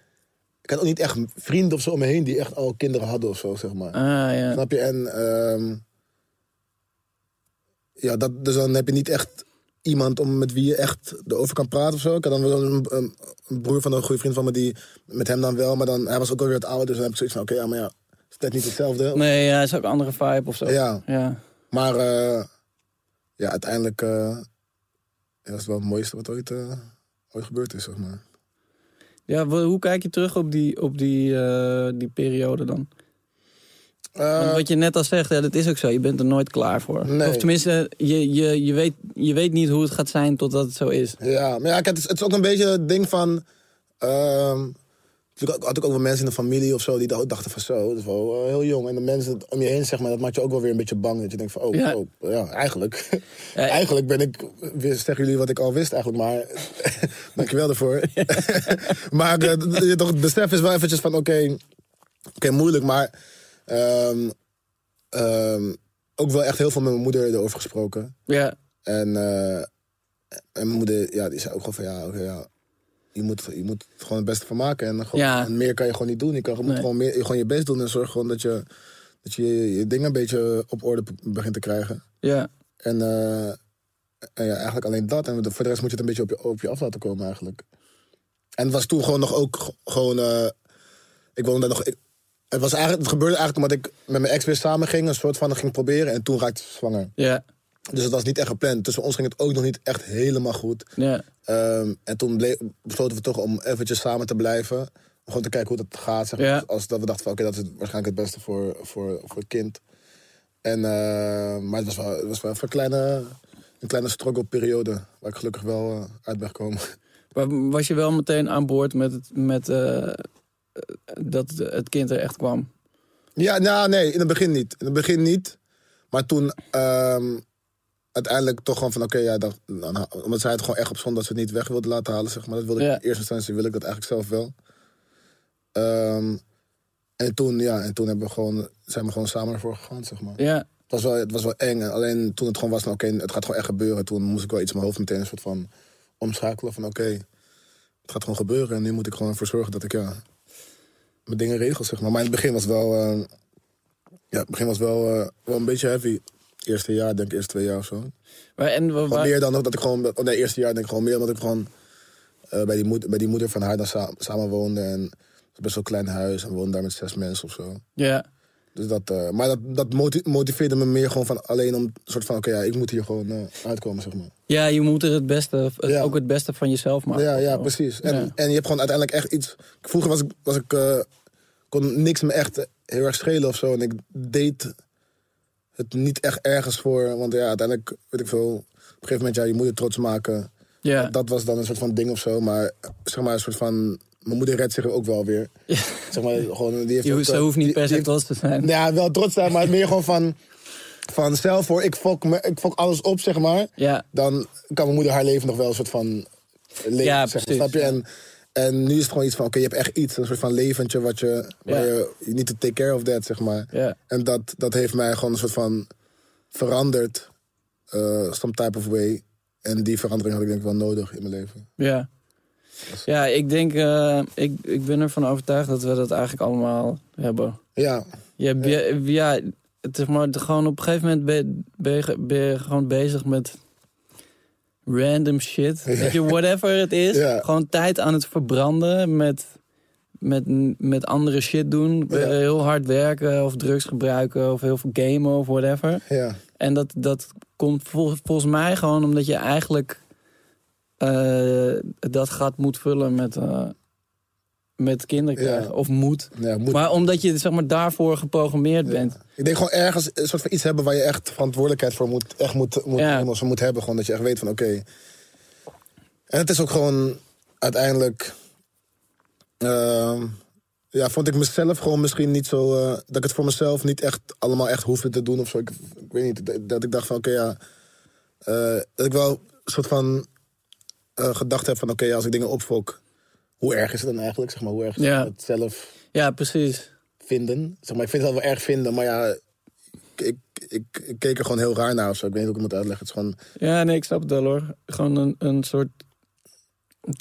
S4: Ik had ook niet echt vrienden of zo om me heen die echt al kinderen hadden of zo, zeg maar.
S3: Ah, ja.
S4: Snap je? En ehm, ja, dat, dus dan heb je niet echt iemand om, met wie je echt erover kan praten of zo. Ik had dan wel een, een- een broer van een goede vriend van me die met hem dan wel, maar dan, hij was ook alweer wat ouder, dus dan heb ik zoiets van, oké, ja, maar ja, is dat niet hetzelfde?
S3: Nee, ja, is ook een andere vibe of zo.
S4: Ja,
S3: Ja.
S4: maar eh, ja, uiteindelijk eh ja, is het wel het mooiste wat ooit, eh, ooit gebeurd is, zeg maar.
S3: Ja, wa- hoe kijk je terug op die, op die, eh, die periode dan? Want
S4: Eh,
S3: wat je net al zegt, ja, dat is ook zo. Je bent er nooit klaar voor.
S4: Nee.
S3: Of tenminste, je, je, je, weet, je weet niet hoe het gaat zijn totdat het zo is.
S4: Ja, maar ja, kijk, het, is, het is ook een beetje het ding van. ehm ik had ik ook wel mensen in de familie of zo die da- dachten van zo, dat is wel eh, heel jong. En de mensen om je heen, zeg maar, dat maakt je ook wel weer een beetje bang. Dat je denkt van, oh,
S3: Ja.
S4: oh, ja, eigenlijk.
S3: Ja.
S4: eigenlijk ben ik, wist, zeggen jullie wat ik al wist eigenlijk, maar dankjewel daarvoor. maar eh, d- d- toch, het besef is wel eventjes van, oké, oké, moeilijk, maar ehm, ehm, ook wel echt heel veel met mijn moeder erover gesproken.
S3: Ja,
S4: En, eh, en mijn moeder, ja, die zei ook gewoon van ja, oké, ja je, moet, je moet er gewoon het beste van maken. En, gewoon,
S3: Ja.
S4: en meer kan je gewoon niet doen. Je, kan, je moet
S3: Nee.
S4: gewoon, meer, gewoon je best doen en zorg gewoon dat je dat je, je, je dingen een beetje op orde p- begint te krijgen.
S3: ja.
S4: En, eh, en ja, eigenlijk alleen dat. En voor de rest moet je het een beetje op je, op je af laten komen eigenlijk. En het was toen gewoon nog ook g- gewoon... eh, ik wilde daar nog... ik- het, was eigenlijk, het gebeurde eigenlijk omdat ik met mijn ex weer samen ging. Een soort van ging proberen. En toen raakte ze zwanger.
S3: Ja,
S4: Dus het was niet echt gepland. Tussen ons ging het ook nog niet echt helemaal goed.
S3: ja.
S4: Ehm, en toen ble- besloten we toch om eventjes samen te blijven. Om gewoon te kijken hoe dat gaat. Zeg maar.
S3: Ja.
S4: als, als dat we dachten van oké, dat is waarschijnlijk het beste voor, voor, voor het kind. En, eh, maar het was wel, het was wel even een kleine, een kleine struggle periode. Waar ik gelukkig wel eh, uit ben gekomen.
S3: Maar was je wel meteen aan boord met, het, met eh, eh, dat het kind er echt kwam?
S4: Ja, nou nee, in het begin niet. In het begin niet. Maar toen ehm, uiteindelijk toch gewoon van oké, ja, dan, dan- omdat zij het gewoon echt op stond dat ze het niet weg wilde laten halen, zeg maar. Dat wilde
S3: Ja.
S4: ik in eerste instantie wil ik dat eigenlijk zelf wel. Ehm, en toen, ja, en toen hebben we gewoon, zijn we gewoon samen ervoor gegaan, zeg maar.
S3: Ja,
S4: Het was wel, het was wel eng. En Alleen toen het gewoon was van oké, het gaat gewoon echt gebeuren. Toen moest ik wel iets in mijn hoofd meteen een soort van omschakelen van oké, het gaat gewoon gebeuren. En nu moet ik gewoon ervoor zorgen dat ik ja, mijn dingen regel, zeg maar. Maar in het begin was wel, eh, ja, het begin was wel, eh, wel een beetje heavy. Eerste jaar, denk ik, eerste twee jaar of zo. Gewoon
S3: maar, en, wa- wa-
S4: meer dan dat ik gewoon, oh nee, eerste jaar denk ik gewoon meer omdat ik gewoon eh, bij, die moed- bij die moeder van haar dan sa- samen woonde. En het was best wel een klein huis en woonde daar met zes mensen of zo.
S3: ja.
S4: Dus dat, eh, maar dat, dat moti- motiveerde me meer gewoon van alleen om een soort van oké, ja, ik moet hier gewoon eh, uitkomen, zeg maar.
S3: ja, je moet er het beste, het-
S4: Ja.
S3: ook het beste van jezelf maken.
S4: ja, ja,
S3: Of-
S4: precies. En,
S3: Ah, Ja.
S4: en je hebt gewoon uiteindelijk echt iets. Vroeger was ik, was ik eh, kon niks me echt heel erg schelen of zo. En ik deed het niet echt ergens voor. Want ja, uiteindelijk weet ik veel. Op een gegeven moment, ja, je moeder trots maken.
S3: Ja.
S4: Dat was dan een soort van ding of zo. Maar eh, zeg maar, een soort van. Mijn moeder redt zich ook wel weer. Zeg maar, gewoon, die heeft
S3: Je,
S4: ook,
S3: hoeft- ze
S4: eh,
S3: hoeft niet
S4: die-
S3: per
S4: die
S3: se
S4: heeft-
S3: trots te zijn.
S4: Ja, wel trots zijn, maar meer gewoon van, van zelf hoor. Ik fok, me, ik fok alles op, zeg maar.
S3: Ja,
S4: Dan kan mijn moeder haar leven nog wel een soort van leven,
S3: Ja,
S4: zeg maar,
S3: precies,
S4: snap je?
S3: ja.
S4: En, en nu is het gewoon iets van, oké, je hebt echt iets. Een soort van leventje wat je, waar
S3: Ja.
S4: je, je niet to take care of that, zeg maar.
S3: ja,
S4: En dat, dat heeft mij gewoon een soort van veranderd. eh, some type of way. En die verandering had ik denk ik wel nodig in mijn leven.
S3: ja. Ja, ik denk, eh, ik, ik ben ervan overtuigd dat we dat eigenlijk allemaal hebben.
S4: Ja,
S3: Je, hebt-
S4: Eh.
S3: je- ja, het is maar de- gewoon op een gegeven moment ben je, ben je, ge- ben je gewoon bezig met random shit. Weet je, whatever het is.
S4: Ja.
S3: Gewoon tijd aan het verbranden met, met, met andere shit doen.
S4: Ja.
S3: Eh, Heel hard werken of drugs gebruiken of heel veel gamen of whatever.
S4: ja,
S3: En dat, dat komt vol- volgens mij gewoon omdat je eigenlijk eh, dat gat moet vullen met, eh, met kinderen
S4: Ja.
S3: krijgen. Of moet.
S4: Ja, moet.
S3: Maar omdat je zeg maar, daarvoor geprogrammeerd bent.
S4: Ik denk gewoon ergens een soort van iets hebben waar je echt verantwoordelijkheid voor moet, echt moet, moet,
S3: Ja.
S4: moet, moet hebben. Gewoon dat je echt weet van oké. En het is ook gewoon uiteindelijk. ehm, ja, vond ik mezelf gewoon misschien niet zo. eh, dat ik het voor mezelf niet echt allemaal echt hoefde te doen of zo. Ik, ik weet niet. dat- Dat ik dacht van oké, ja. eh, dat ik wel een soort van eh, gedacht heb van oké, ja, als ik dingen opfok. Hoe erg is het dan eigenlijk? Zeg maar, hoe erg is
S3: Ja.
S4: het zelf
S3: Ja, precies.
S4: vinden. Zeg maar, ik vind het wel wel erg vinden, maar ja, ik, ik, ik, ik keek er gewoon heel raar naar of zo. Ik weet niet hoe ik het moet uitleggen. Het is gewoon,
S3: Ja, nee, ik snap het wel hoor. Gewoon een, een soort...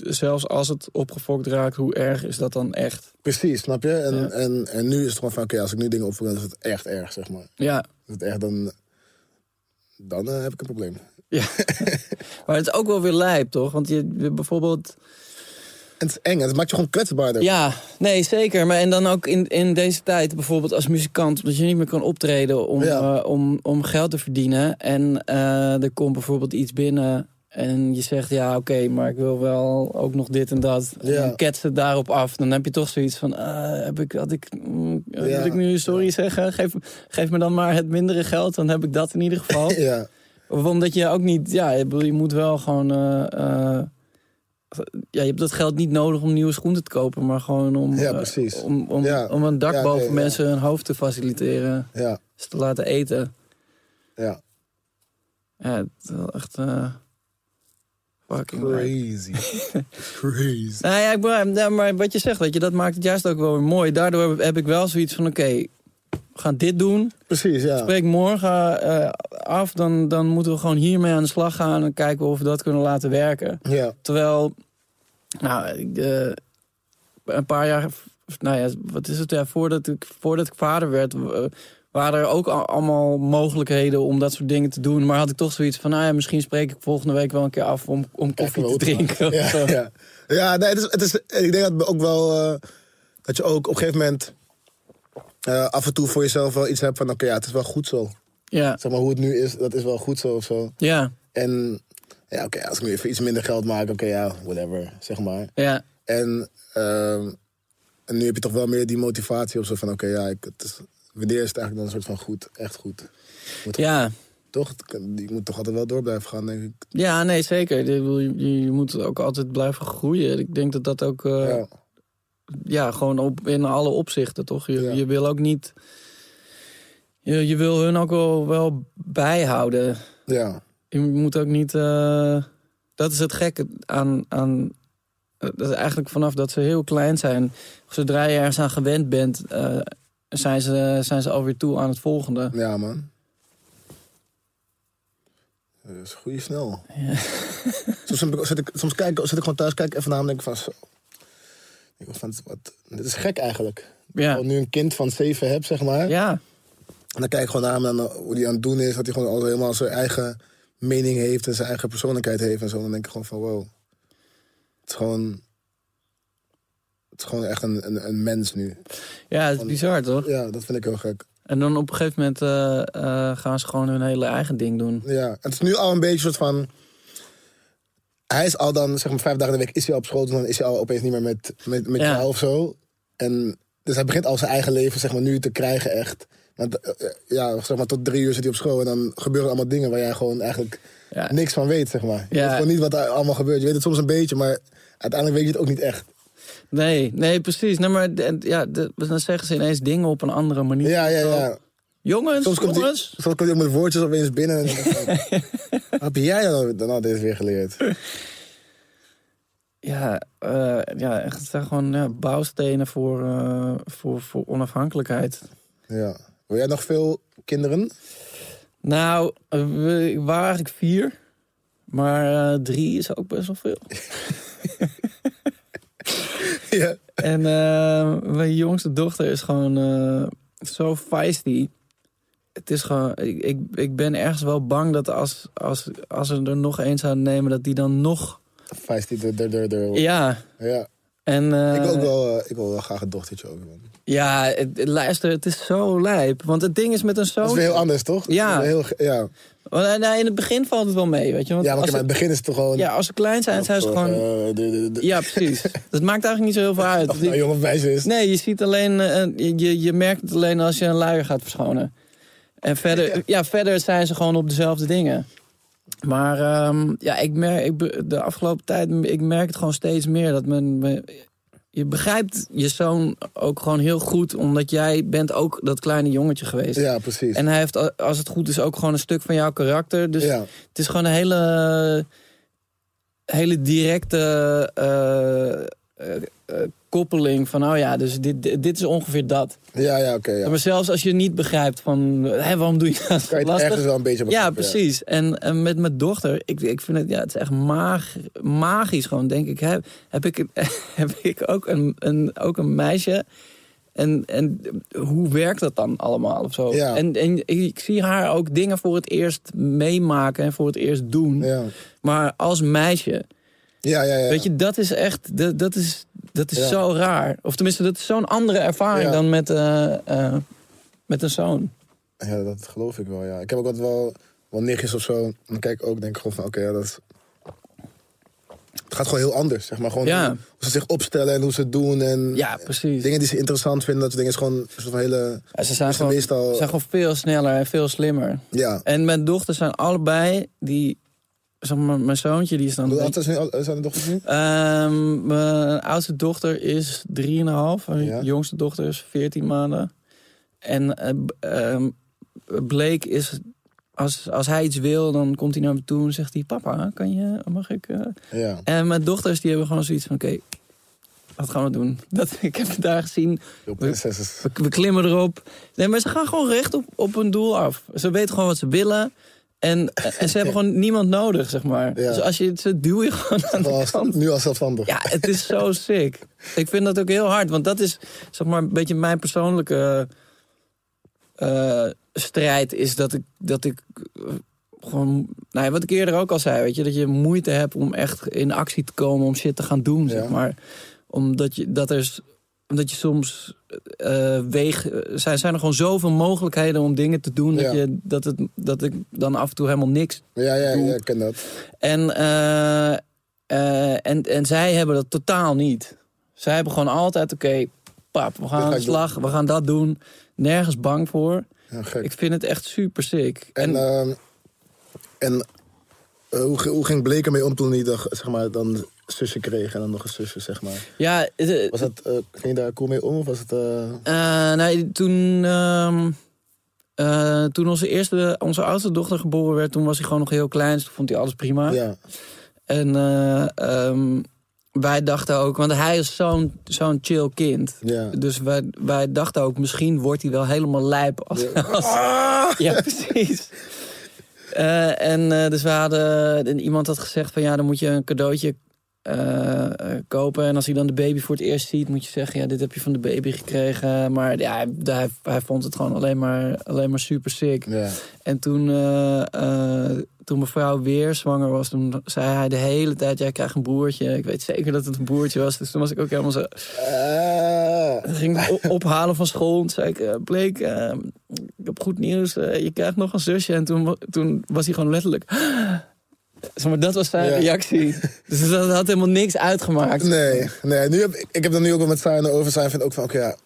S3: Zelfs als het opgefokt raakt, hoe erg is dat dan echt?
S4: precies, snap je? En,
S3: Ja.
S4: en, en nu is het gewoon van, oké, als ik nu dingen opvoer, dan is het echt erg, zeg maar.
S3: Ja,
S4: Is het echt, dan, dan eh, heb ik een probleem.
S3: maar het is ook wel weer lijp, toch? Want je je bijvoorbeeld...
S4: En het is eng, en het maakt je gewoon kwetsbaarder.
S3: Ja, nee, zeker. Maar en dan ook in, in deze tijd, bijvoorbeeld als muzikant, omdat je niet meer kan optreden om,
S4: Ja.
S3: eh, om, om geld te verdienen. En eh, er komt bijvoorbeeld iets binnen en je zegt, ja, oké, maar ik wil wel ook nog dit en dat.
S4: Ja.
S3: En ketst het daarop af. Dan heb je toch zoiets van, eh, heb ik, had ik, mm, eh,
S4: Ja.
S3: moet ik nu sorry zeggen? Geef, geef me dan maar het mindere geld, dan heb ik dat in ieder geval.
S4: Ja,
S3: Of omdat je ook niet, ja, ik bedoel, je moet wel gewoon. eh, eh, ja, je hebt dat geld niet nodig om nieuwe schoenen te kopen, maar gewoon om.
S4: Ja,
S3: eh,
S4: precies.
S3: om, om,
S4: Ja.
S3: om een dak
S4: Ja,
S3: boven
S4: nee, ja.
S3: mensen hun hoofd te faciliteren,
S4: ja,
S3: ze te laten eten.
S4: ja.
S3: Ja, het is wel echt. eh, fucking. leuk.
S4: Crazy. Crazy.
S3: Nou ja, ik ben, ja, maar wat je zegt, weet je, dat maakt het juist ook wel weer mooi. Daardoor heb- heb ik wel zoiets van: oké, we gaan dit doen.
S4: Precies, ja.
S3: Spreek morgen eh, af, dan, dan moeten we gewoon hiermee aan de slag gaan en kijken of we dat kunnen laten werken.
S4: Ja,
S3: Terwijl, nou, ik, eh, een paar jaar, of, nou ja, wat is het, ja, voordat, ik, voordat ik vader werd, eh, waren er ook al- allemaal mogelijkheden om dat soort dingen te doen. Maar had ik toch zoiets van, nou ja, misschien spreek ik volgende week wel een keer af om, om koffie te
S4: Kijken we wat
S3: drinken. of
S4: ja,
S3: zo.
S4: ja. ja nee, het is, het is, ik denk dat we ook wel. eh, dat je ook op een gegeven moment. eh, af en toe voor jezelf wel iets hebt van: oké, ja, het is wel goed zo.
S3: ja,
S4: zeg maar, hoe het nu is, dat is wel goed zo of zo.
S3: ja,
S4: En ja, oké, als ik nu even iets minder geld maak, oké, ja, whatever, zeg maar.
S3: ja,
S4: En, ehm, en nu heb je toch wel meer die motivatie of zo van, oké, ja, ik, het is, wanneer is het eigenlijk dan een soort van goed, echt goed?
S3: ja.
S4: Toch? Het kan- Die moet toch altijd wel door blijven gaan, denk ik.
S3: Ja, nee, zeker. Ik bedoel, Je, je, moet ook altijd blijven groeien. Ik denk dat dat ook... eh,
S4: Ja,
S3: ja, gewoon op, in alle opzichten, toch? Je,
S4: Ja.
S3: je wil ook niet... Je, je wil hun ook wel, wel bijhouden.
S4: ja,
S3: Je moet ook niet... eh, dat is het gekke aan... aan dat is eigenlijk vanaf dat ze heel klein zijn... Zodra je ergens aan gewend bent... eh, zijn, ze, zijn ze alweer toe aan het volgende.
S4: ja man. Dat is goeie snel. soms, heb ik- zit ik, soms kijk, zit ik gewoon thuis, kijk ik even naar hem en denk ik van, zo. Ik denk van, wat, dit is gek eigenlijk.
S3: Ja.
S4: Als ik nu een kind van zeven heb, zeg maar.
S3: Ja,
S4: En dan kijk ik gewoon naar hem en dan eh, hoe hij aan het doen is. Dat hij gewoon al helemaal zijn eigen mening heeft en zijn eigen persoonlijkheid heeft en zo. Dan denk ik gewoon van wow. Het is gewoon. Het is gewoon echt een, een, een mens nu.
S3: ja, het is bizar, toch?
S4: Ja, dat vind ik heel gek.
S3: En dan op een gegeven moment eh, eh, gaan ze gewoon hun hele eigen ding doen.
S4: Ja, en het is nu al een beetje een soort van. Hij is al dan, zeg maar, vijf dagen in de week is hij al op school. Dus dan is hij al opeens niet meer met, met, met
S3: Ja.
S4: jou of zo. En dus hij begint al zijn eigen leven, zeg maar, nu te krijgen echt. Want eh, eh, ja, zeg maar, tot drie uur zit hij op school. En dan gebeuren allemaal dingen waar jij gewoon eigenlijk
S3: Ja.
S4: niks van weet, zeg maar. Je
S3: Ja.
S4: weet gewoon niet wat er allemaal gebeurt. Je weet het soms een beetje, maar uiteindelijk weet je het ook niet echt.
S3: Nee, nee, precies. Nee, maar de- ja, de- dan zeggen ze ineens dingen op een andere manier.
S4: Ja, ja, ja.
S3: Jongens,
S4: Soms komt, hij,
S3: jongens.
S4: soms komt hij ook met woordjes opeens binnen. En dan denk ik van, wat heb jij dan, dan al deze weer geleerd?
S3: Ja, eh, ja, echt, het zijn gewoon ja, bouwstenen voor, eh, voor, voor onafhankelijkheid.
S4: Ja. Wil jij nog veel kinderen?
S3: Nou, eh, we ik waren eigenlijk vier. Maar eh, drie is ook best wel veel.
S4: Ja.
S3: en eh, mijn jongste dochter is gewoon eh, zo feisty. Het is gewoon, ik, ik, ik ben ergens wel bang dat als, als, als ze er nog één zouden nemen, dat die dan nog.
S4: Feisty, de, de, de, de.
S3: Ja,
S4: Ja.
S3: En, eh, Oh,
S4: ik, wil ook wel, eh, ik wil wel graag een dochtertje ook, man.
S3: Ja, het, het- luister, het is zo lijp. Want het ding is met een
S4: Dat is
S3: zoon...
S4: weer heel anders, toch?
S3: Ja.
S4: Dat is weer heel ge- ja.
S3: Want, eh, nou, in het begin valt het wel mee, weet je. Want
S4: ja, maar
S3: als
S4: kijk, maar in het
S3: ze,
S4: begin is het toch gewoon...
S3: ja, als ze klein zijn, zijn ze
S4: Of,
S3: gewoon...
S4: eh, de- de- de-
S3: Ja, precies. Dat maakt eigenlijk niet zo heel veel uit.
S4: Of nou jong of wijs is.
S3: Nee, je ziet alleen, eh, eh, je, je merkt het alleen als je een luier gaat verschonen. En verder, ja, verder zijn ze gewoon op dezelfde dingen. Maar ehm, ja, ik merk ik, be- de afgelopen tijd, ik merk het gewoon steeds meer dat men, men- je begrijpt je zoon ook gewoon heel goed, omdat jij bent ook dat kleine jongetje geweest.
S4: Ja, precies.
S3: dus- En hij heeft, a- als het goed is, ook gewoon een stuk van jouw karakter. Dus
S4: Dus- ja.
S3: het is gewoon een hele, hele directe eh, eh, eh, koppeling van, oh ja, dus dit, dit dit is ongeveer dat.
S4: ja, ja, oké. ja.
S3: Maar zelfs als je niet begrijpt van, hé, waarom doe je
S4: Kan
S3: dat?
S4: je het
S3: Lastig.
S4: ergens wel een beetje
S3: Ja,
S4: begrijpen,
S3: precies. En, en met mijn dochter, ik, ik vind het, ja, het is echt mag, magisch gewoon, denk ik. Heb, heb, ik, heb ik ook een, een, ook een meisje? En, en hoe werkt dat dan allemaal of zo?
S4: Ja.
S3: En, en ik zie haar ook dingen voor het eerst meemaken en voor het eerst doen.
S4: Ja,
S3: Maar als meisje,
S4: ja, ja. ja.
S3: weet je, dat is echt, dat, dat is, dat is
S4: Ja.
S3: zo raar. Of tenminste, dat is zo'n andere ervaring
S4: Ja.
S3: dan met, eh, eh, met een zoon.
S4: Ja, dat geloof ik wel, ja. Ik heb ook wat wel, wel nichtjes of zo. En dan kijk ik ook, denk ik gewoon van, oké, ja, dat is... Het gaat gewoon heel anders, zeg maar. Gewoon
S3: Ja.
S4: hoe ze zich opstellen en hoe ze het doen. En
S3: Ja, precies.
S4: dingen die ze interessant vinden, dat soort dingen. is gewoon een soort van hele...
S3: Ja, ze zijn
S4: is
S3: gewoon,
S4: meestal-
S3: zijn gewoon veel sneller en veel slimmer.
S4: Ja.
S3: En mijn dochters zijn allebei, die, zeg maar, mijn zoontje die is dan...
S4: Hoe oud zijn al- zijn de dochters nu?
S3: Ehm, mijn oudste dochter is 3,5. Mijn
S4: Ja.
S3: jongste dochter is 14 maanden. En eh, b- ehm, Blake is... Als, als hij iets wil, dan komt hij naar me toe en zegt hij... Papa, kan je, mag ik... eh?"
S4: Ja.
S3: En mijn dochters die hebben gewoon zoiets van... Oké, wat gaan we doen? Dat, ik heb het daar gezien.
S4: Heel prinsessen.
S3: We, we klimmen erop. Nee, maar ze gaan gewoon recht op, op hun doel af. Ze weten gewoon wat ze willen. En, en ze hebben gewoon niemand nodig, zeg maar.
S4: Ja.
S3: Dus als je ze duw je gewoon aan de
S4: Wel als-
S3: kant.
S4: Nu als zelfstandig.
S3: Ja, het is zo sick. Ik vind dat ook heel hard, want dat is zeg maar een beetje mijn persoonlijke eh, strijd is dat ik dat ik eh, gewoon, nou ja, wat ik eerder ook al zei, weet je, dat je moeite hebt om echt in actie te komen, om shit te gaan doen, zeg
S4: Ja.
S3: maar, omdat je dat er s- omdat je soms eh weeg, eh, zijn, zijn er gewoon zoveel mogelijkheden om dingen te doen dat
S4: Ja.
S3: je dat het dat ik dan af en toe helemaal niks
S4: Ja, ja, ja, ik ken dat.
S3: en, eh, eh, en, en zij hebben dat totaal niet. Zij hebben gewoon altijd, oké, pap, we gaan
S4: ga
S3: aan de
S4: ik
S3: slag, we gaan dat doen. Nergens bang voor.
S4: Ja, gek.
S3: Ik vind het echt super sick.
S4: En,
S3: En,
S4: ehm, en eh, hoe, ge- hoe ging Blake ermee om toen hij de, zeg maar, dan zusje kreeg en dan nog een zusje, zeg maar?
S3: ja, eh,
S4: Was dat, eh, ging je daar cool mee om of was het... eh,
S3: eh, nee, toen, ehm, eh, toen onze, eerste, onze oudste dochter geboren werd, toen was hij gewoon nog heel klein. Dus toen vond hij alles prima.
S4: ja,
S3: En eh, ehm, wij dachten ook, want hij is zo'n zo'n chill kind.
S4: ja.
S3: Dus wij, wij dachten ook, misschien wordt hij wel helemaal lijp. Als, ja. ja, precies. Eh, en eh, dus we hadden, en iemand had gezegd van ja, dan moet je een cadeautje eh, eh, kopen. En als hij dan de baby voor het eerst ziet, moet je zeggen, ja, dit heb je van de baby gekregen. Maar ja, hij, hij, hij vond het gewoon alleen maar, alleen maar super sick.
S4: Ja,
S3: En toen, eh, eh, toen mijn vrouw weer zwanger was, toen zei hij de hele tijd, jij krijgt een broertje. Ik weet zeker dat het een broertje was. Dus toen was ik ook helemaal zo,
S4: Ah.
S3: ging ik o- ophalen van school. Toen zei ik, eh, Blake, eh, ik heb goed nieuws. eh, je krijgt nog een zusje. En toen, wa- toen was hij gewoon letterlijk... Zeg maar, dat was zijn
S4: Ja.
S3: reactie. Dus dat had helemaal niks uitgemaakt.
S4: nee, nee nu heb, ik ik heb dan nu ook wel met Sain over. Sain vindt ook van, oké, ja,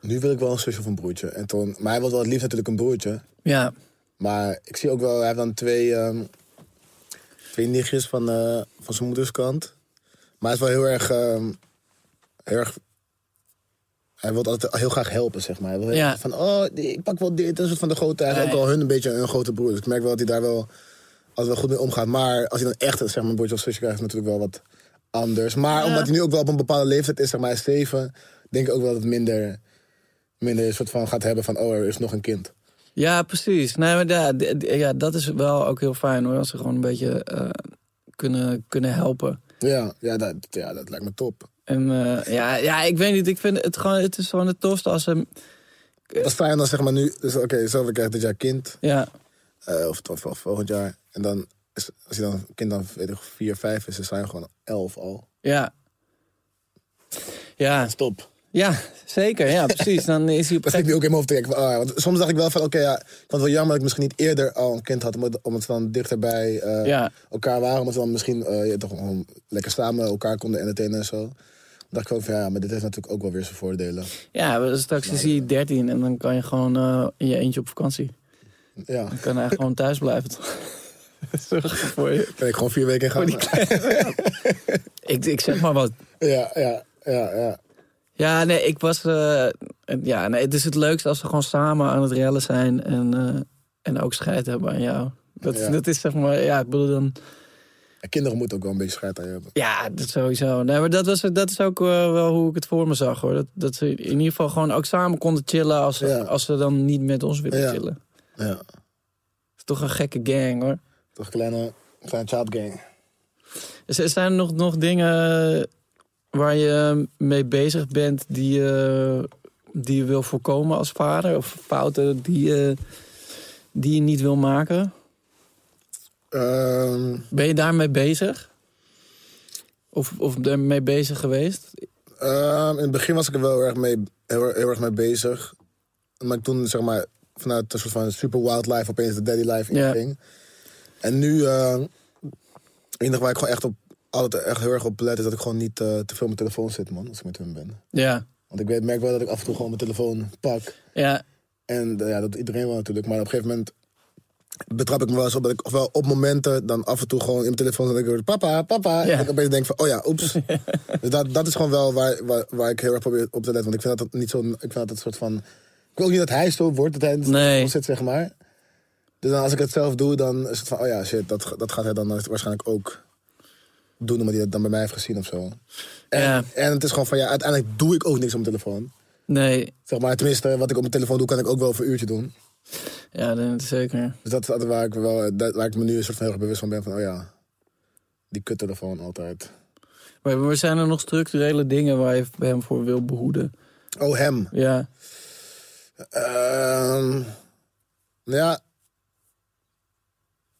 S4: nu wil ik wel een zusje of een broertje. En toen, maar hij wil wel het liefst natuurlijk een broertje.
S3: Ja,
S4: Maar ik zie ook wel, hij heeft dan twee, ehm, twee nichtjes van, eh, van zijn moeders kant. Maar hij is wel heel erg, ehm, heel erg... Hij wil altijd heel graag helpen, zeg maar. Hij wil heel
S3: Ja.
S4: erg van, oh, die- ik pak wel dit. Een soort van de grote... Hij is
S3: Ja,
S4: ook
S3: ja.
S4: wel hun een beetje een grote broer. Dus ik merk wel dat hij daar wel, altijd wel goed mee omgaat. Maar als hij dan echt zeg maar, een broertje of zusje krijgt... is het natuurlijk wel wat anders. Maar omdat hij nu ook wel op een bepaalde leeftijd is, zeg maar, hij is zeven... denk ik ook wel dat het minder, minder een soort van gaat hebben van... oh, er is nog een kind.
S3: ja precies. Nee, maar ja, d- d- ja, dat is wel ook heel fijn hoor. Als ze gewoon een beetje eh, kunnen, kunnen helpen.
S4: Ja, ja, dat, ja, dat lijkt me top.
S3: En eh, ja, ja, ik weet niet. Ik vind het gewoon, het is gewoon het tofste als ze...
S4: Wat sta je dan zeg maar nu? Dus oké, zelf krijgt dit jaar kind,
S3: Ja,
S4: eh, of, of, of volgend jaar. En dan, is, als je dan kind dan weet ik, 4, 5 is, dan sta je gewoon 11 al.
S3: ja. Ja,
S4: Stop.
S3: ja zeker. Ja, precies. Dan is hij op een
S4: Dat zit ik
S3: gegeven
S4: nu ook in mijn hoofd te denken van, ah, ja, want soms dacht ik wel van, oké, ja, ik vond het wel jammer dat ik misschien niet eerder al een kind had, omdat- omdat we dan dichterbij eh,
S3: Ja.
S4: elkaar waren, omdat we dan misschien eh, ja, toch gewoon lekker samen elkaar konden entertainen en zo. Dan dacht ik wel van, ja, maar dit heeft natuurlijk ook wel weer zijn voordelen.
S3: Ja, we- straks is hij 13 en dan kan je gewoon eh, in je eentje op vakantie.
S4: Ja,
S3: Dan kan hij gewoon thuis blijven. toch? Zorg voor je.
S4: ben ik gewoon vier weken in gaan.
S3: Ik, ik zeg maar wat.
S4: Ja, ja, ja, ja.
S3: Ja, nee, ik was. eh, ja, nee, het is het leukst als we gewoon samen aan het rellen zijn en, eh, en ook scheid hebben aan jou. Dat,
S4: Ja.
S3: dat is zeg maar, ja, ik bedoel dan.
S4: En kinderen moeten ook wel een beetje scheid aan je hebben.
S3: Ja, dat sowieso. Nee, maar dat, was, dat is ook eh, wel hoe ik het voor me zag hoor. Dat, dat ze in ieder geval gewoon ook samen konden chillen als,
S4: Ja.
S3: als ze dan niet met ons willen
S4: Ja.
S3: chillen. Het
S4: Ja,
S3: is toch een gekke gang hoor.
S4: toch een kleine, kleine child gang.
S3: Z- Zijn er nog, nog dingen waar je mee bezig bent die je, die je wil voorkomen als vader? Of fouten die je, die je niet wil maken?
S4: Ehm,
S3: Ben je daarmee bezig? Of, of daarmee bezig geweest?
S4: Ehm, in het begin was ik er wel heel erg mee, heel, heel erg mee bezig. Maar toen, zeg maar, vanuit een soort van super wildlife opeens de daddy life
S3: Ja.
S4: inging. En nu, eh, het enige waar ik gewoon echt op, altijd echt heel erg op let, is dat ik gewoon niet eh, te veel op mijn telefoon zit, man, als ik met hun ben.
S3: Ja.
S4: Want ik weet, merk wel dat ik af en toe gewoon mijn telefoon pak.
S3: Ja,
S4: En eh, ja, dat doet iedereen wel natuurlijk. Maar op een gegeven moment betrap ik me wel eens op dat ik ofwel op momenten dan af en toe gewoon in mijn telefoon zit en ik hoor papa, papa.
S3: Ja.
S4: En ik opeens denk van, oh ja, oeps. dus dat, dat is gewoon wel waar, waar, waar ik heel erg probeer op te letten. Want ik vind dat, dat niet zo, ik vind dat een soort van... Ik wil ook niet dat hij zo wordt, dat hij in het
S3: Nee.
S4: telefoon zit, zeg maar. Dus dan als ik het zelf doe, dan is het van, oh ja, shit, dat, dat gaat hij dan waarschijnlijk ook doen, omdat hij dat dan bij mij heeft gezien of zo. En,
S3: Ja.
S4: en het is gewoon van, ja, uiteindelijk doe ik ook niks op mijn telefoon.
S3: nee.
S4: Zeg maar, tenminste, wat ik op mijn telefoon doe, kan ik ook wel voor een uurtje doen.
S3: Ja, dat is zeker.
S4: Dus dat is altijd waar ik, wel, dat- waar ik me nu een soort van heel erg bewust van ben. Van, oh ja, die kuttelefoon altijd.
S3: Maar, maar zijn er nog structurele dingen waar je hem voor wil behoeden?
S4: Oh, hem.
S3: Ja.
S4: Ehm, nou ja.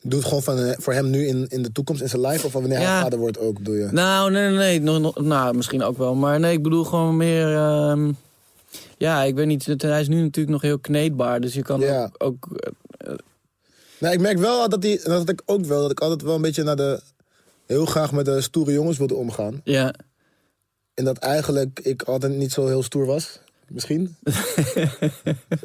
S4: Doe het gewoon van, eh, voor hem nu in, in de toekomst, in zijn life. Of wanneer hij
S3: Ja.
S4: vader wordt ook, doe je.
S3: Nou, nee, nee, nee. Nog, nog- nou, misschien ook wel. Maar nee, ik bedoel gewoon meer... ehm, ja, ik weet niet. het- Hij is nu natuurlijk nog heel kneedbaar. Dus je kan
S4: Ja.
S3: ook... ook eh,
S4: Nou, ik merk wel dat, die, dat ik ook wel, dat ik altijd wel een beetje naar de... Heel graag met de stoere jongens wilde omgaan.
S3: ja.
S4: En dat eigenlijk ik altijd niet zo heel stoer was. Misschien.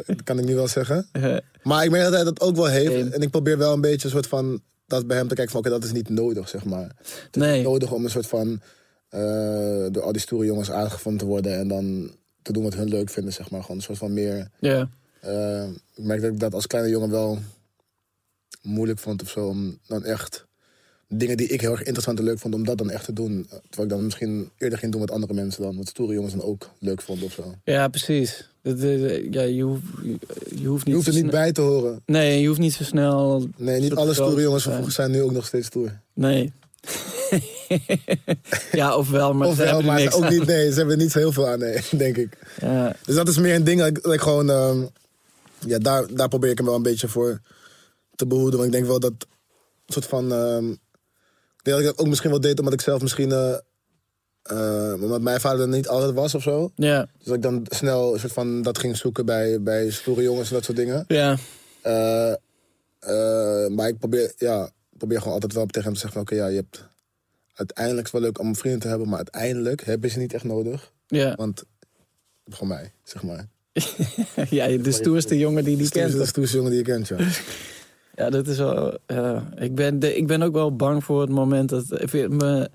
S4: dat kan ik nu wel zeggen.
S3: Eh,
S4: Maar ik merk dat hij dat ook wel heeft.
S3: Eén.
S4: En ik probeer wel een beetje een soort van dat bij hem te kijken van oké, dat is niet nodig, zeg maar. Het is
S3: Nee.
S4: niet nodig om een soort van eh, door al die stoere jongens aangevonden te worden en dan te doen wat hun leuk vinden, zeg maar. Gewoon een soort van meer.
S3: ja.
S4: eh, ik merk dat ik dat als kleine jongen wel moeilijk vond of zo. Om dan echt dingen die ik heel erg interessant en leuk vond, om dat dan echt te doen. Terwijl ik dan misschien eerder ging doen wat andere mensen dan, wat stoere jongens dan ook leuk vonden of zo.
S3: Ja, precies. Dat, eh, ja, je, hoeft, je, je hoeft niet
S4: Je hoeft er
S3: zo
S4: niet
S3: sne-
S4: bij te horen.
S3: Nee, je hoeft niet zo snel...
S4: Nee, niet
S3: Dat
S4: alle
S3: is wel
S4: stoere jongens van
S3: fijn.
S4: vroeger zijn nu ook nog steeds stoer.
S3: Nee. ja, ofwel, maar
S4: Of
S3: ze
S4: wel,
S3: hebben er
S4: maar
S3: niks
S4: ook
S3: aan.
S4: niet, nee, ze hebben er niet zo heel veel aan, nee, denk ik.
S3: Ja,
S4: Dus dat is meer een ding dat ik, dat ik gewoon... ehm, ja, daar, daar probeer ik hem wel een beetje voor te behoeden. Want ik denk wel dat een soort van... ehm, ik denk dat ik dat ook misschien wel deed omdat ik zelf misschien... eh, eh, omdat mijn vader er niet altijd was of zo.
S3: ja,
S4: Dus dat ik dan snel een soort van dat ging zoeken bij, bij stoere jongens en dat soort dingen.
S3: ja.
S4: Eh, eh, maar ik probeer, ja, ik probeer gewoon altijd wel tegen hem te zeggen van... Oké, ja, je hebt uiteindelijk is het wel leuk om een vriend te hebben... maar uiteindelijk heb je ze niet echt nodig.
S3: ja.
S4: Want gewoon mij, zeg maar.
S3: ja de stoerste jongen die die
S4: Die
S3: kent.
S4: is de stoerste jongen die je kent, ja.
S3: Ja, dat is wel. eh, ik, ben de, ik ben ook wel bang voor het moment dat. Ik vind me,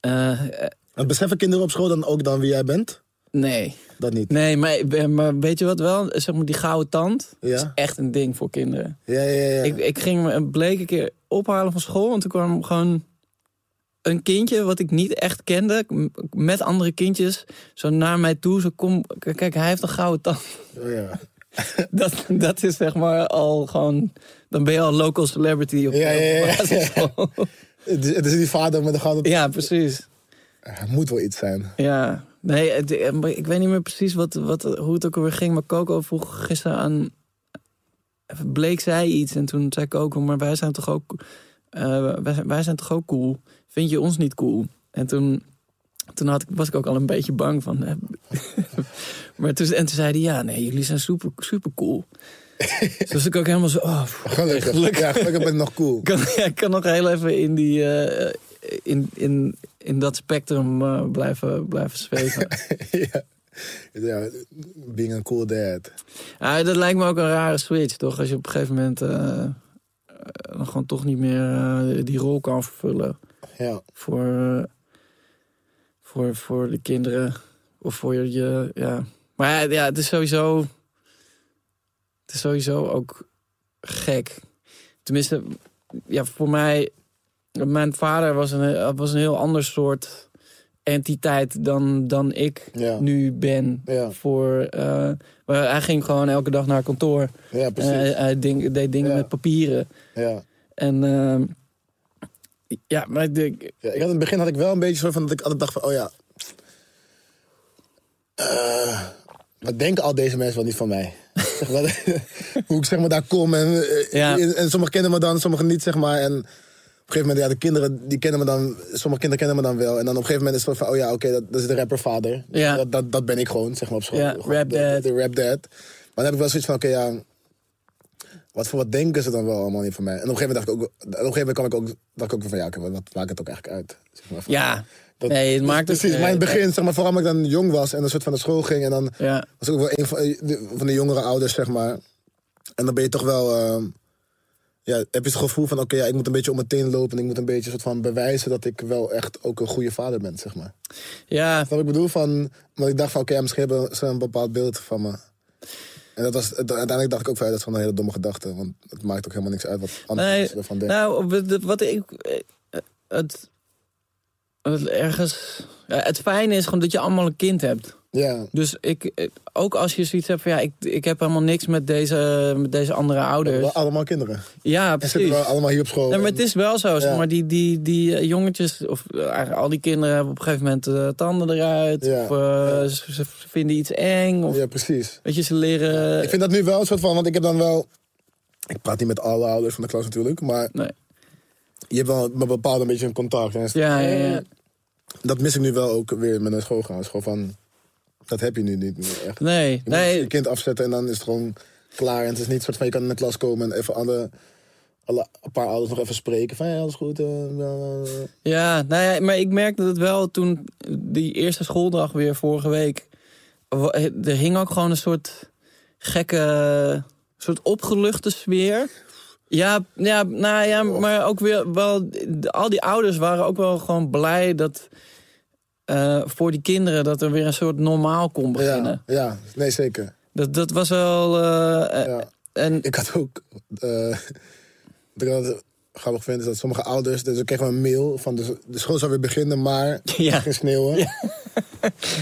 S3: eh, eh,
S4: En beseffen kinderen op school dan ook dan wie jij bent?
S3: nee.
S4: Dat niet.
S3: Nee, maar, ik ben- maar weet je wat wel? Zeg maar, die gouden tand is
S4: Ja?
S3: echt een ding voor kinderen.
S4: Ja, ja, ja. ja.
S3: Ik, ik ging me een bleek een keer ophalen van school. En toen kwam gewoon een kindje wat ik niet echt kende. m- Met andere kindjes. Zo naar mij toe. Zo kom, k- kijk, hij heeft een gouden tand.
S4: Oh, ja.
S3: Dat, dat is zeg maar al gewoon. Dan ben je al local celebrity op,
S4: Ja, ja, ja,
S3: op
S4: ja.
S3: basisschool.
S4: Het, is, het is die vader met de gouden...
S3: Ja, precies.
S4: Het moet wel iets zijn.
S3: Ja. Nee, het- eh, maar ik weet niet meer precies wat, wat, hoe het ook alweer ging. Maar Coco vroeg gisteren aan... even Bleek zij iets en toen zei Coco... Maar wij zijn toch ook, eh, wij, zijn- wij zijn toch ook cool? Vind je ons niet cool? En toen toen had, ik- was ik ook al een beetje bang van. hè. maar toen, en toen zei hij, ja, nee, jullie zijn super, super cool. dus was ik ook helemaal zo, oh, pff,
S4: Gelukkig. Ja, gelukkig ben ik nog cool.
S3: ik kan, ja, ik kan nog heel even in, die, eh, in, in, in dat spectrum eh, blijven, blijven zweven.
S4: ja. ja, being a cool dad.
S3: Ja, dat lijkt me ook een rare switch, toch? Als je op een gegeven moment eh, eh, dan gewoon toch niet meer eh, die rol kan vervullen
S4: Ja,
S3: voor, eh, voor, voor de kinderen of voor je. je- ja. Maar ja, ja, het is sowieso. Het is sowieso ook gek. Tenminste, ja, voor mij. Mijn vader was een, was een heel ander soort entiteit dan, dan ik
S4: ja,
S3: nu ben.
S4: Ja.
S3: Voor, eh, maar hij ging gewoon elke dag naar kantoor.
S4: Eh, ja
S3: En hij,
S4: precies.
S3: hij ding- deed dingen
S4: Ja.
S3: met papieren.
S4: Ja.
S3: En ehm, ja, maar ik denk,
S4: Ja, ik had in het begin had ik wel een beetje zo van dat ik altijd dacht van, oh ja. eh, wat denken al deze mensen wel niet van mij? Zeg maar, hoe ik zeg maar daar kom en, eh,
S3: Ja.
S4: en, en sommigen kennen me dan, sommigen niet zeg maar. En op een gegeven moment, ja, de kinderen die kennen me dan, sommige kinderen kennen me dan wel. En dan op een gegeven moment is het van, oh ja, oké, dat, dat is de rappervader.
S3: Ja.
S4: Dat, dat, dat ben ik gewoon, zeg maar op school.
S3: Ja,
S4: Gewoon
S3: rap
S4: de, de-
S3: dad.
S4: de rap dad. Maar dan heb ik wel zoiets van, oké, ja, wat voor wat denken ze dan wel allemaal niet van mij? En op een gegeven moment dacht ik ook, op een gegeven moment kwam ik ook, dacht ik ook van, ja, oké, wat maakt het ook eigenlijk uit? Zeg maar, van-
S3: ja.
S4: dat-
S3: nee, het maakt het-
S4: Precies, maar in het
S3: eh,
S4: begin, zeg maar, vooral omdat ik dan jong was en een soort van naar school ging. En dan
S3: Ja,
S4: was ik ook wel een van eh, de, van de jongere ouders, zeg maar. En dan ben je toch wel... ehm, ja, heb je het gevoel van, oké, ja, ik moet een beetje om mijn teen lopen. En ik moet een beetje soort van bewijzen dat ik wel echt ook een goede vader ben, zeg maar.
S3: ja,
S4: Snap wat ik bedoel? Van, want ik dacht van, oké, ja, misschien hebben ze een bepaald beeld van me. En dat was, uiteindelijk dacht ik ook van, ja, dat is gewoon een hele domme gedachte. Want het maakt ook helemaal niks uit wat andere
S3: Nee,
S4: mensen ervan denken.
S3: Nou, op het- wat ik. eh, Het, het ergens. ja, Het fijne is gewoon dat je allemaal een kind hebt.
S4: Ja,
S3: Dus ik, eh, ook als je zoiets hebt van ja, ik, ik heb helemaal niks met deze, met deze andere
S4: we hebben
S3: ouders.
S4: wel allemaal kinderen.
S3: Ja,
S4: En zitten
S3: Dus- precies.
S4: we allemaal hier op school.
S3: Nee, maar
S4: en-
S3: het is wel zo. Zeg
S4: Ja.
S3: maar die, die, die eh, jongetjes, of eh, eigenlijk al die kinderen hebben op een gegeven moment eh, tanden eruit.
S4: Ja.
S3: Of eh,
S4: Ja.
S3: ze, ze vinden iets eng. Of
S4: Ja, precies.
S3: weet je, ze leren.
S4: Ik vind dat nu wel een soort van, want ik heb dan wel. Ik praat niet met alle ouders van de klas natuurlijk, maar
S3: Nee.
S4: je hebt wel een bepaald een beetje een contact. En is-
S3: Ja, ja, ja.
S4: Dat mis ik nu wel ook weer met naar school gaan. Het is gewoon van, dat heb je nu niet meer echt.
S3: Nee,
S4: Je moet
S3: nee.
S4: je kind afzetten en dan is het gewoon klaar. En het is niet soort van, je kan in de klas komen en even alle, alle, een paar ouders nog even spreken. Van, ja, alles goed. eh, ja, eh.
S3: Ja, nou ja, maar ik merkte het wel toen die eerste schooldag weer vorige week. wa- Er hing ook gewoon een soort gekke, soort opgeluchte sfeer. Ja, ja, nou ja,
S4: Oh.
S3: maar ook weer wel. de- Al die ouders waren ook wel gewoon blij dat. eh, voor die kinderen dat er weer een soort normaal kon beginnen.
S4: ja, ja, nee, zeker.
S3: Dat, dat was wel. eh, eh,
S4: Ja.
S3: En
S4: Ik had ook. eh, wat ik altijd grappig vind is dat sommige ouders. Dus ik kreeg een mail van de, de school zou weer beginnen, maar.
S3: Ja.
S4: Ja. Geen sneeuwen.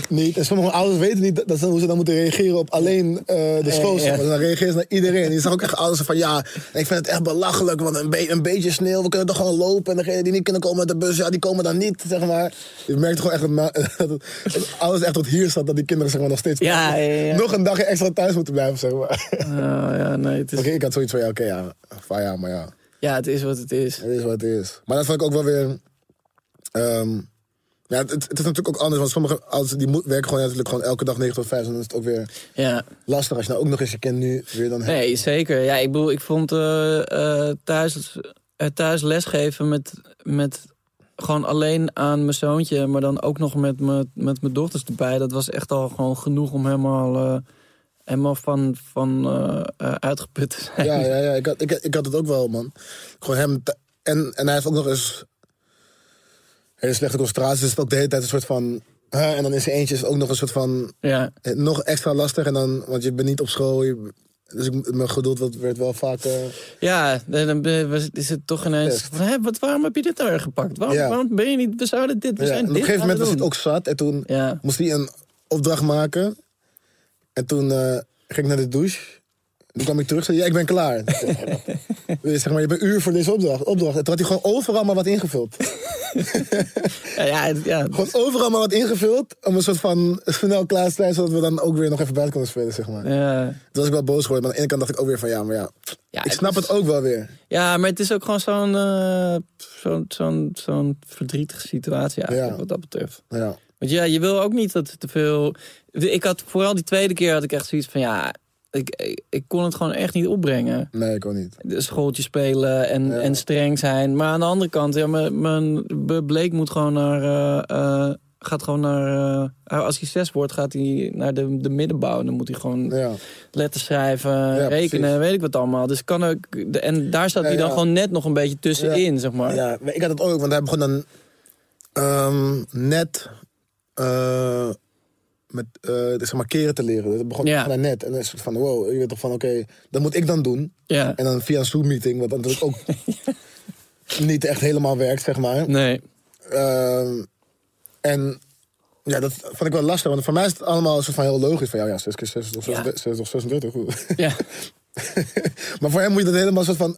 S4: Niet. En sommige ouders weten niet dat, dat ze- hoe ze dan moeten reageren op alleen eh, de school. zeg maar. Dus dan reageren ze naar iedereen. Je zag ook echt ouders van ja, ik vind het echt belachelijk, want een, be- een beetje sneeuw, we kunnen toch gewoon lopen. En degenen die niet kunnen komen met de bus, ja, die komen dan niet, zeg maar. Je merkt gewoon echt dat, ma- dat, het- dat alles echt tot hier zat, dat die kinderen zeg maar nog steeds
S3: Ja, ja, ja.
S4: nog een dag extra thuis moeten blijven, zeg maar.
S3: eh, ja, nee, het
S4: Oké,
S3: is,
S4: ik had zoiets van, ja, oké, ja, van, ja, maar ja,
S3: ja, het is wat het is.
S4: het is wat het is. Maar dat vond ik ook wel weer... ehm, ja, het, het is natuurlijk ook anders, want sommige ouders die moet, werken gewoon natuurlijk gewoon elke dag 9 tot 5. En dan is het ook weer
S3: Ja.
S4: lastig als je nou ook nog eens je kind nu weer dan hebt.
S3: Nee, zeker. Ja, ik bedoel, ik vond eh, eh, thuis, eh, thuis lesgeven met, met gewoon alleen aan mijn zoontje, maar dan ook nog met, mijn- met mijn dochters erbij. Dat was echt al gewoon genoeg om helemaal, eh, helemaal van, van eh, eh, uitgeput te zijn.
S4: Ja, ja, ja, ik had, ik, ik had het ook wel, man. Gewoon hem... te- En, en hij heeft ook nog eens hele slechte concentratie. Dus het is ook de hele tijd een soort van... hè, en dan in zijn eentje is het ook nog een soort van...
S3: Ja,
S4: eh, Nog extra lastig, en dan, want je bent niet op school. je- dus ik, mijn geduld werd- werd wel vaak... eh,
S3: ja nee, dan ben- was- is het toch ineens.
S4: Best.
S3: van, Hè, wat, waarom heb je dit nou weer gepakt? Waarom,
S4: Ja.
S3: waarom ben je niet? We zouden dit. We
S4: Ja,
S3: zijn
S4: en op een
S3: dit
S4: gegeven moment was
S3: gaan
S4: het
S3: doen.
S4: ook zat. En toen
S3: Ja.
S4: moest hij een opdracht maken. En toen eh, ging ik naar de douche. En toen kwam ik terug en zei, ja, ik ben klaar. Ik zei, "Ja, maar- zeg maar, je hebt een uur voor deze opdracht. opdracht. En toen had hij gewoon overal maar wat ingevuld.
S3: Ja, ja, het- ja.
S4: Gewoon overal maar wat ingevuld. Om een soort van snel klaar te zijn. Zodat we dan ook weer nog even buiten konden spelen, zeg maar.
S3: Ja.
S4: Toen was ik wel boos geworden. Maar aan de ene kant dacht ik ook weer van, ja, maar ja.
S3: Ja,
S4: ik
S3: het
S4: snap
S3: is-
S4: het ook wel weer.
S3: Ja, maar het is ook gewoon zo'n eh, zo'n zo'n zo'n verdrietige situatie eigenlijk,
S4: Ja.
S3: wat dat betreft.
S4: Ja,
S3: Want ja, je wil ook niet dat er te veel... Ik had vooral die tweede keer had ik echt zoiets van... Ja, ik, ik, ik kon het gewoon echt niet opbrengen.
S4: Nee, ik ook niet.
S3: De schooltje spelen en,
S4: Ja.
S3: en streng zijn. Maar aan de andere kant, ja, mijn- mijn B- Bleek moet gewoon naar... eh, eh, gaat gewoon naar... eh, als hij zes wordt, gaat hij naar de, de middenbouw. Dan moet hij gewoon
S4: Ja,
S3: letters schrijven,
S4: precies.
S3: rekenen, weet ik wat allemaal. Dus kan ook... de- en daar staat
S4: Ja,
S3: hij dan
S4: ja.
S3: gewoon net nog een beetje tussenin, zeg maar.
S4: ja maar ik had het ook, want hij begon dan ehm, net eh, met eh, zeg maar keren te leren. Dat begon
S3: Ja.
S4: begon hij net. En dan is het van, wow, je weet toch van, oké, dat moet ik dan doen.
S3: Ja.
S4: En dan via een Zoom-meeting, wat natuurlijk ook niet echt helemaal werkt, zeg maar.
S3: Nee.
S4: Ehm, en ja, dat vond ik wel lastig, want voor mij is het allemaal een soort van heel logisch. Van ja, ja 6 keer 6 is toch
S3: Ja.
S4: 36. is toch 36 goed.
S3: Ja.
S4: maar voor hem moet je dat helemaal, soort van,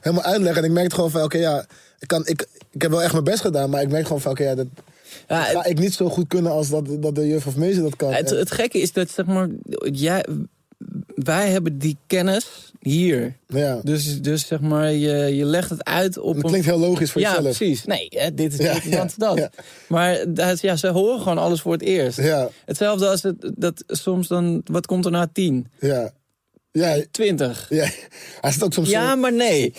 S4: helemaal uitleggen. En ik merkte gewoon van, oké, ja, ik, kan, ik, ik heb wel echt mijn best gedaan, maar ik merk gewoon van, oké, ja, dat
S3: Ja,
S4: ga ik niet zo goed kunnen als dat, dat de juf of meester dat kan.
S3: Het,
S4: En-
S3: het gekke is dat, zeg maar, jij, wij hebben die kennis hier.
S4: ja.
S3: Dus, dus zeg maar, je, je legt het uit op
S4: Dat klinkt heel logisch voor
S3: ja,
S4: jezelf.
S3: precies. Nee, hè, dit is
S4: Ja,
S3: dit,
S4: ja,
S3: dat, dat.
S4: ja.
S3: Maar dat is- ja, ze horen gewoon alles voor het eerst.
S4: Ja,
S3: Hetzelfde als het, dat soms dan, wat komt er na tien?
S4: ja. Ja,
S3: Twintig.
S4: ja. Hij zit ook soms zo-
S3: Ja, maar nee.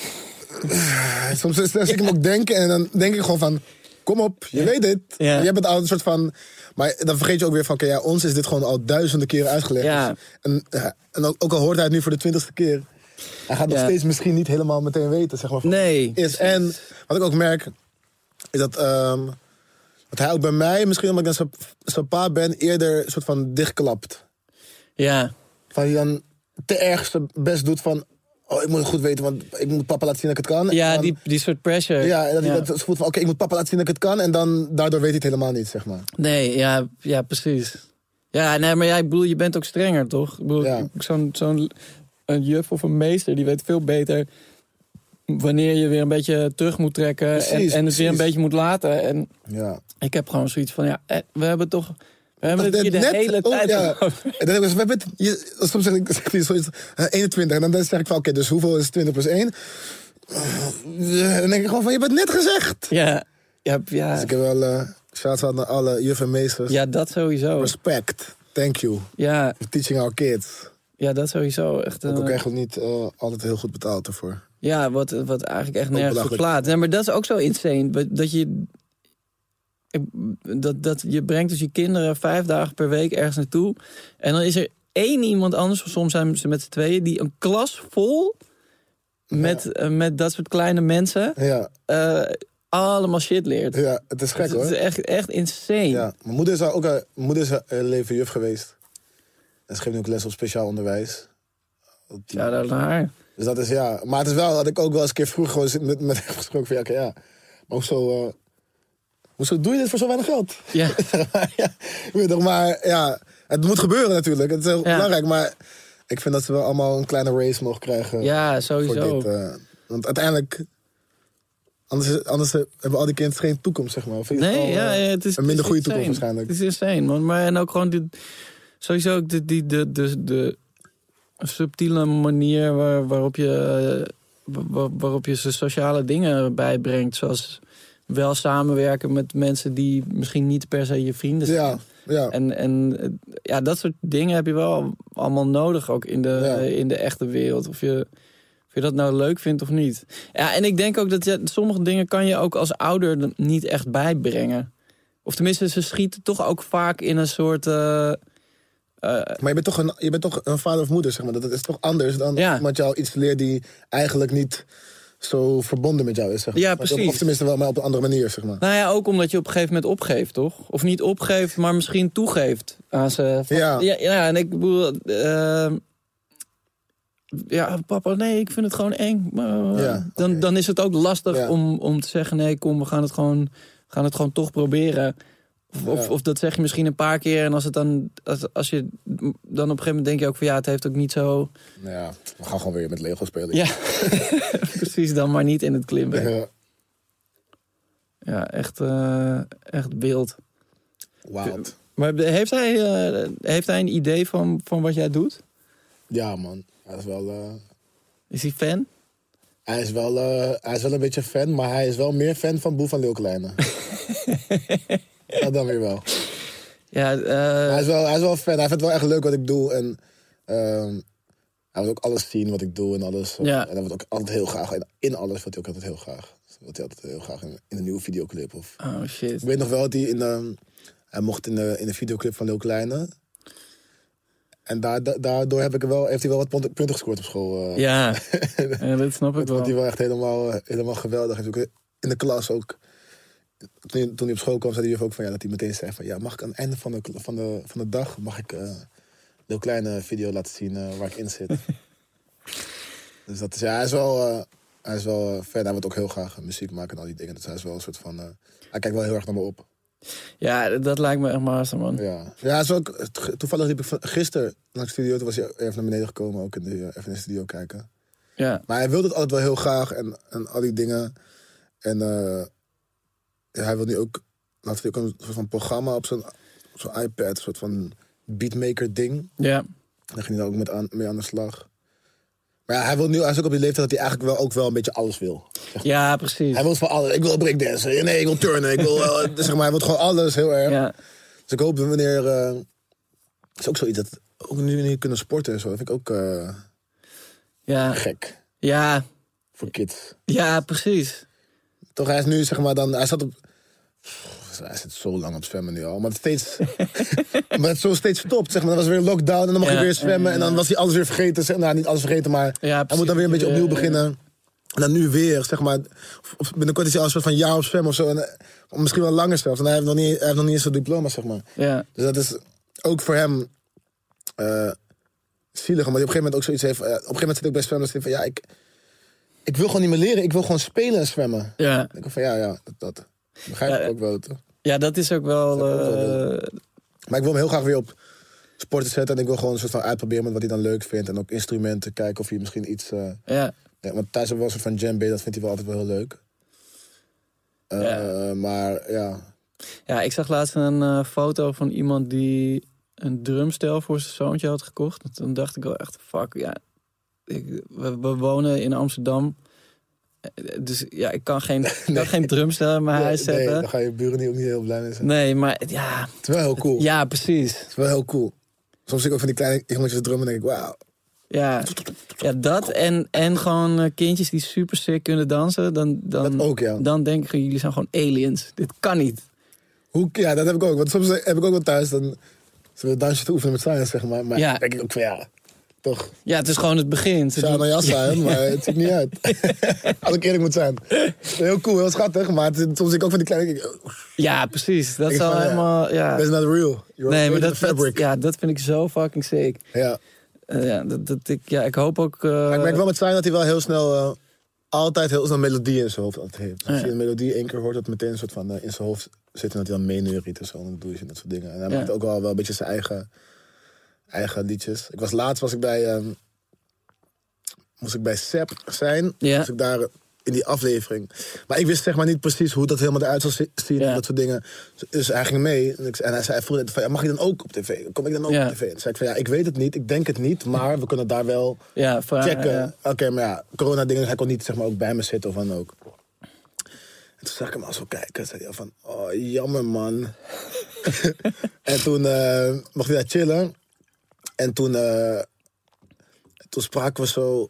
S4: Soms is- dan zie ik hem ook denken en dan denk ik gewoon van... Kom op, je weet dit.
S3: Ja.
S4: Jij bent al een soort van... Maar dan vergeet je ook weer van... Oké, ja, ons is dit gewoon al duizenden keren uitgelegd.
S3: Ja.
S4: En, eh, en ook, ook al hoort hij het nu voor de twintigste keer... Hij gaat
S3: Ja.
S4: nog steeds misschien niet helemaal meteen weten, zeg maar. van
S3: Nee.
S4: wat het Is. En wat ik ook merk, is dat... ehm, dat hij ook bij mij, misschien omdat ik dan zo- zo pa ben... eerder een soort van dichtklapt.
S3: Ja.
S4: Van die dan te erg zijn best doet van... Oh, ik moet het goed weten, want ik moet papa laten zien dat ik het kan. En
S3: Ja,
S4: dan-
S3: die, die soort pressure.
S4: ja, en dat hij
S3: Ja.
S4: dat voelt van, oké, ik moet papa laten zien dat ik het kan. En dan, daardoor weet hij het helemaal niet, zeg maar.
S3: Nee, ja, ja precies. Ja, nee, maar jij ik bedoel, je bent ook strenger, toch? Ik bedoel,
S4: Ja.
S3: zo'n, zo'n een juf of een meester, die weet veel beter wanneer je weer een beetje terug moet trekken en,
S4: Precies,
S3: en het weer
S4: precies.
S3: een beetje moet laten. En
S4: Ja.
S3: ik heb gewoon zoiets van, ja, eh, we hebben toch... We hebben
S4: Dat
S3: het hier de
S4: net-
S3: hele
S4: oh,
S3: tijd
S4: ja.
S3: over.
S4: En dan heb ik, we hebben het- je, soms zeg ik, zeg ik zoiets, eh, 21. En dan zeg ik van, oké, dus hoeveel is 20 plus 1? Eh, Dan denk ik gewoon van, je hebt het net gezegd.
S3: Ja, ja, ja,
S4: Dus ik heb wel, eh shout out naar alle juf en meesters.
S3: ja, dat sowieso.
S4: Respect. Thank you.
S3: Ja,
S4: For teaching our kids.
S3: ja, dat sowieso. Echt,
S4: Ook
S3: eh,
S4: al krijgen we niet eh, altijd heel goed betaald ervoor.
S3: Ja, wat, wat eigenlijk echt nergens op
S4: belachelijk.
S3: slaat. Nee, maar dat is ook zo insane. dat- Dat je... ik- Dat, dat je brengt dus je kinderen vijf dagen per week ergens naartoe. En dan is er één iemand anders, of soms zijn ze met z'n tweeën, die een klas vol met, eh, met dat soort kleine mensen
S4: Ja,
S3: eh, allemaal shit leert.
S4: ja het is gek
S3: Het is-
S4: hoor.
S3: Het is echt, echt insane.
S4: Ja, mijn moeder is al ook eh, mijn moeder is haar hele leven juf geweest. En ze geeft nu ook les op speciaal onderwijs. Op die-
S3: Ja, dat is haar.
S4: Dus dat is ja. Maar het is wel, had ik ook wel eens een keer vroeger gewoon zit- met, met hem gesproken van ja, oké, ja. Maar hoezo, eh, hoezo doe je dit voor zo weinig geld?
S3: Ja,
S4: ja, ik weet toch, maar ja, het moet gebeuren natuurlijk. Het is heel belangrijk, maar ik vind dat ze wel allemaal een kleine race mogen krijgen.
S3: ja
S4: voor
S3: sowieso.
S4: dit, eh, want uiteindelijk, anders, anders hebben al die kinderen geen toekomst, zeg maar. Of in ieder
S3: Nee,
S4: geval,
S3: ja,
S4: eh,
S3: ja, het is
S4: een minder
S3: het
S4: goede
S3: is
S4: toekomst
S3: insane.
S4: waarschijnlijk.
S3: Het is insane, man. Maar en ook gewoon dit, sowieso ook de, die, de, de, de subtiele manier waar, waarop, je, eh, wa- wa- waarop je ze sociale dingen bijbrengt. Zoals wel samenwerken met mensen die misschien niet per se je vrienden zijn.
S4: Ja, ja.
S3: En, en eh, ja, dat soort dingen heb je wel allemaal nodig ook in de,
S4: Ja.
S3: eh, in de echte wereld. Of je, of je dat nou leuk vindt of niet. Ja, en ik denk ook dat ja, sommige dingen kan je ook als ouder er niet echt bijbrengen. Of tenminste, ze schieten toch ook vaak in een soort... eh, eh,
S4: Maar je bent, toch een, je bent toch een vader of moeder, zeg maar. Dat is toch anders dan
S3: Ja.
S4: iemand jou iets leert die eigenlijk niet zo verbonden met jou is, zeg maar.
S3: Ja,
S4: Of-
S3: precies.
S4: Of tenminste wel, maar op een andere manier, zeg maar.
S3: nou ja, ook omdat je op een gegeven moment opgeeft, toch? Of niet opgeeft, maar misschien toegeeft aan ze. Van-
S4: Ja.
S3: ja, ja, en ik bedoel... eh, ja, papa, nee, ik vind het gewoon eng. Maar, eh,
S4: Ja,
S3: dan,
S4: oké.
S3: dan is het ook lastig
S4: Ja.
S3: om, om te zeggen... nee, kom, we gaan het gewoon, we gaan het gewoon toch proberen. Of, of,
S4: Ja.
S3: of dat zeg je misschien een paar keer. En als, het dan, als, als je dan op een gegeven moment denk je ook van... ja, het heeft ook niet zo...
S4: Nou ja, we gaan gewoon weer met Lego spelen. Eh,
S3: Ja, precies, dan maar niet in het klimmen.
S4: Ja.
S3: Ja, echt, eh, echt wild.
S4: Wild.
S3: Maar heeft hij, eh, heeft hij een idee van, van wat jij doet?
S4: Ja, man. Hij is wel... eh,
S3: Is hij fan?
S4: hij is, wel, eh, hij is wel een beetje fan, maar hij is wel meer fan van Boe van Leeuwkleine. dat dan weer wel.
S3: Ja, eh,
S4: Hij is, wel, hij is wel fan. Hij vindt wel echt leuk wat ik doe. En ehm, hij wil ook alles zien wat ik doe en alles.
S3: Ja.
S4: En hij wil ook altijd heel graag. En in alles wil hij ook altijd heel graag. Dus wil hij altijd heel graag in, in een nieuwe videoclip. Of...
S3: oh shit.
S4: Ik weet nog wel dat hij in de... Hij mocht in de, in de videoclip van Lil Kleine. En daar, da- daardoor heb ik er wel, heeft hij wel wat punten punten gescoord op school. eh.
S3: Ja, ja, dat snap ik
S4: Dat vond hij
S3: wel.
S4: wel echt helemaal, eh, helemaal geweldig. Hij is ook eh, in de klas ook. Toen hij, toen hij op school kwam, zei de juf ook van ja, dat hij meteen zei van ja, mag ik aan het einde van de, kl- van de, van de dag, mag ik eh, een heel kleine video laten zien eh, waar ik in zit. dus dat is, ja, hij is wel, eh, hij is wel eh, fan. Hij wil ook heel graag eh, muziek maken en al die dingen. Dus hij is wel een soort van, eh, hij kijkt wel heel erg naar me op.
S3: Ja, dat- dat lijkt me echt maar zo, man.
S4: Ja, ja hij is ook, toevallig liep ik van- gisteren naar de studio, toen was hij even naar beneden gekomen, ook in de, eh, even in de studio kijken.
S3: Ja,
S4: Maar hij wilde het altijd wel heel graag en, en al die dingen. En eh, ja, hij wil nu ook, laten we ook een soort van programma op zijn, op zijn iPad, een soort van beatmaker ding.
S3: ja,
S4: Daar ging hij dan ook met aan, mee aan de slag. Maar ja, hij, wil nu, hij is ook op die leeftijd dat hij eigenlijk wel, ook wel een beetje alles wil.
S3: ja precies.
S4: Hij wil van alles. Ik wil breakdansen. Nee, ik wil turnen. Ik wil, eh, zeg maar, hij wil gewoon alles heel erg.
S3: Ja,
S4: Dus ik hoop dat wanneer... eh, het is ook zoiets dat ook nu niet kunnen sporten en zo. Dat vind ik ook eh,
S3: ja,
S4: gek
S3: ja,
S4: voor kids.
S3: ja, precies.
S4: Toch, hij is nu zeg maar dan. Hij zat op. Pff, Hij zit zo lang op zwemmen nu al. Maar het steeds. maar het zo steeds stopt. Zeg maar. Dan was weer lockdown en dan mag
S3: Ja,
S4: hij weer
S3: ja,
S4: zwemmen.
S3: ja.
S4: En dan was hij alles weer vergeten. Zeg, nou, niet alles vergeten, maar.
S3: Ja,
S4: hij moet dan weer een beetje
S3: precies.
S4: opnieuw beginnen. En dan nu weer, zeg maar. of- of Binnenkort is hij al een soort van jaar op zwemmen of zo. En, eh, of misschien wel langer zelfs. En hij heeft nog niet, hij heeft nog niet eens zijn diploma, zeg maar.
S3: Ja,
S4: Dus dat is ook voor hem eh zielig. Maar die op een gegeven moment ook zoiets heeft. eh, op een gegeven moment zit ik bij zwemmen. Dat hij van ja, ik, ik wil gewoon niet meer leren. Ik wil gewoon spelen en zwemmen.
S3: ja.
S4: Ik denk van ja, ja, dat, dat begrijp ik
S3: Ja, eh,
S4: ook wel. toch?
S3: Ja, dat is ook wel.
S4: Dat is ook wel
S3: eh,
S4: Maar ik wil hem heel graag weer op sporten zetten. En ik wil gewoon een soort van uitproberen met wat hij dan leuk vindt. En ook instrumenten kijken of hij misschien iets... eh,
S3: ja,
S4: ja, want thuis hebben we wel een soort van djembe. Dat vindt hij wel altijd wel heel leuk. Eh,
S3: Ja.
S4: Maar ja,
S3: ja, ik zag laatst een eh, foto van iemand die een drumstel voor zijn zoontje had gekocht. En toen dacht ik wel echt, fuck, ja. Ik, we, we wonen in Amsterdam. Eh, Dus ja, ik kan geen, ik kan
S4: Nee.
S3: geen drumstel in mijn
S4: nee,
S3: huis
S4: nee,
S3: zetten.
S4: dan ga je buren niet, ook niet heel blij mee zijn.
S3: Nee, maar ja,
S4: Het is wel heel cool.
S3: ja, precies.
S4: Het is wel heel cool. Soms zie ik ook van die kleine jongetjes drummen en denk ik, wauw.
S3: Ja, ja dat en, en gewoon eh, kindjes die super sick kunnen dansen. Dan, dan,
S4: Dat ook, ja.
S3: Mm. dan denk ik, gewoon, jullie zijn gewoon aliens. Dit kan niet.
S4: Hoe, ja, dat heb ik ook. Want soms eh, heb ik ook wel thuis, dan ze willen dansje te oefenen met science, zeg maar. Maar
S3: Ja.
S4: dan denk ik ook van ja, toch.
S3: Ja, het is gewoon het begin. Ze
S4: Het zou nou
S3: doen-
S4: naar jas zijn, maar het ziet niet uit. Als ik eerlijk moet zijn. Heel cool, heel schattig, maar het, soms zie ik ook van die kleine... Ik,
S3: Ja, precies. Dat
S4: Ik
S3: zou
S4: van, ja,
S3: helemaal. Ja.
S4: That's not real. You're
S3: Nee, maar
S4: made
S3: dat,
S4: of fabric.
S3: dat, ja, dat vind ik zo fucking sick.
S4: ja.
S3: Eh, ja, dat, dat ik, ja, ik hoop ook. eh,
S4: Maar ik merk wel met Zijn dat hij wel heel snel... eh, altijd heel snel melodie in zijn hoofd altijd heeft. Dus als
S3: Ja.
S4: je een melodie één keer hoort, dat het meteen een soort van eh, in zijn hoofd zit... en dat hij dan meeneuriet en zo, en dan doe je en dat soort dingen. En hij
S3: Ja.
S4: maakt ook wel, wel een beetje zijn eigen, eigen liedjes. Ik was laatst was ik bij... ehm, moest ik bij Sep zijn.
S3: Ja.
S4: Moest ik daar in die aflevering. Maar ik wist zeg maar niet precies hoe dat helemaal eruit zou zi- zien.
S3: Ja.
S4: En dat soort dingen. Dus hij ging mee. En, ik, en hij zei, hij vroeg net van, ja, mag ik dan ook op tv? Kom ik dan ook
S3: Ja.
S4: op tv? En toen zei ik van, ja, ik weet het niet. Ik denk het niet. Maar we kunnen daar wel
S3: ja, voor,
S4: checken.
S3: ja.
S4: Oké, maar ja, corona dingen. Hij kon niet zeg maar ook bij me zitten of dan ook. En toen zag ik hem al zo kijken. zei hij van, oh, jammer man. en toen eh mocht hij daar chillen. En toen, eh, toen spraken we zo...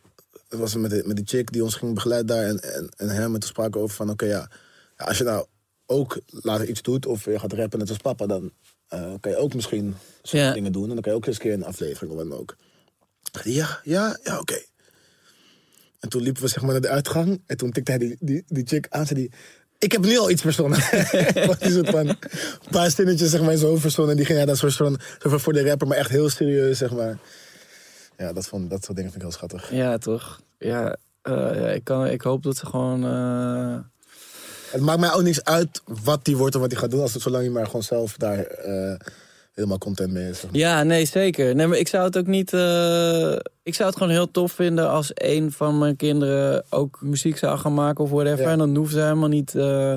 S4: Het was met die, met die chick die ons ging begeleiden daar en, en, en hem. En toen spraken we over van, oké ja, ja, als je nou ook later iets doet... of je gaat rappen net als papa, dan eh, kan je ook misschien zo'n
S3: Ja.
S4: dingen doen. En dan kan je ook eens een keer een aflevering of wat dan ook. Zei hij, Ja, ja, ja, oké. En toen liepen we zeg maar naar de uitgang. En toen tikte hij die, die, die chick aan. Zei die, ik heb nu al iets verzonnen. Want die soort van een paar zinnetjes zeg maar, in zijn hoofd verzonnen. En die ging hij dan soort van, soort van voor de rapper. Maar echt heel serieus, zeg maar. Ja, dat, vond, dat soort dingen vind ik heel schattig.
S3: Ja, toch? Ja, eh, ja ik, kan, ik hoop dat ze gewoon. eh,
S4: Het maakt mij ook niks uit wat hij wordt of wat hij gaat doen. Als het, zolang hij maar gewoon zelf daar eh, helemaal content mee is. zeg maar.
S3: Ja, nee, zeker. Nee, maar ik zou het ook niet. eh, ik zou het gewoon heel tof vinden als een van mijn kinderen ook muziek zou gaan maken of whatever.
S4: Ja.
S3: En dan hoeven ze helemaal niet eh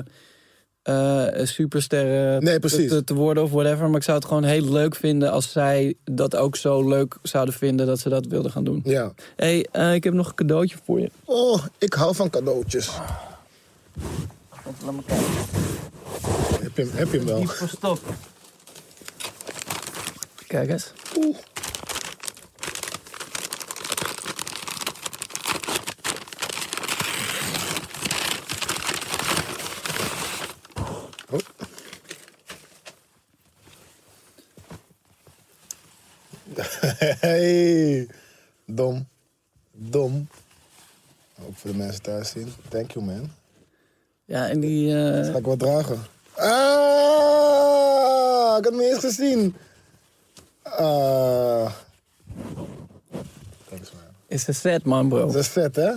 S3: eh, supersterren
S4: Nee,
S3: te,
S4: precies.
S3: te- te worden of whatever. Maar ik zou het gewoon heel leuk vinden als zij dat ook zo leuk zouden vinden dat ze dat wilden gaan doen.
S4: Ja.
S3: Hé, hey, eh, ik heb nog een cadeautje voor je.
S4: Oh, ik hou van cadeautjes. Heb je, hem- heb je hem wel?
S3: verstopt. Kijk eens.
S4: Oeh. Oh. Hey, dom. Dom. Ook voor de mensen thuis zien. Thank you, man.
S3: Ja, en die... eh,
S4: Ga ik wat dragen. Ah, ik had hem niet eens gezien. Ah. Thanks, man.
S3: is een set, man, bro.
S4: Dat is vet, hè?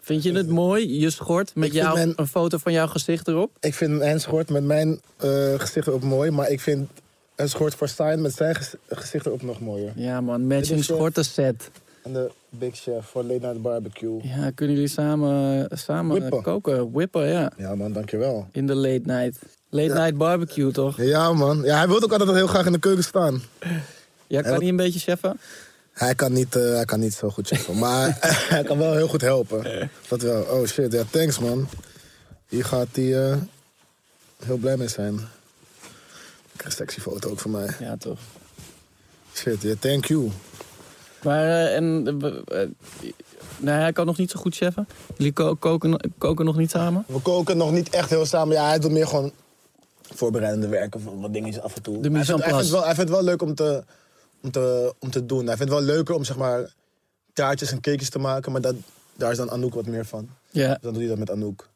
S3: Vind je het mooi, je schort, met
S4: Ik vind
S3: jou,
S4: mijn-
S3: een foto van jouw gezicht erop?
S4: Ik vind een schort met mijn eh, gezicht erop mooi, maar ik vind een schort voor Stein met zijn gez- gezicht erop nog mooier.
S3: Ja, man,
S4: Dit
S3: matching
S4: is, eh,
S3: schorten set.
S4: En de Big Chef voor Late Night Barbecue.
S3: Ja, kunnen jullie samen, samen
S4: Whippen.
S3: koken? Whippen, ja.
S4: Ja, man, dankjewel.
S3: In de late night. Late
S4: Ja.
S3: night barbecue, toch?
S4: Ja, man. Ja, hij wil ook altijd heel graag in de keuken staan.
S3: Ja, kan
S4: wat-
S3: die een beetje cheffen?
S4: Hij kan niet, eh, hij kan niet zo goed cheffen, maar hij kan wel heel goed helpen. Dat wel. Oh shit, ja, thanks man. Hier gaat hij eh, heel blij mee zijn. Ik krijg een sexy foto ook van mij.
S3: Ja, toch.
S4: Shit, ja, thank you.
S3: Maar, eh, en... eh, we- eh, nou, hij kan nog niet zo goed cheffen. Jullie ko- koken, koken nog niet samen?
S4: We koken nog niet echt heel samen. Ja, hij doet meer gewoon voorbereidende werken van wat dingetjes af en toe.
S3: De mise
S4: hij, vindt, hij,
S3: en place.
S4: vindt wel, hij vindt het wel leuk om te, om, te, om te doen. Hij vindt het wel leuker om zeg maar taartjes en cakejes te maken, maar dat, daar is dan Anouk wat meer van.
S3: Ja.
S4: Dus dan doet hij dat met Anouk.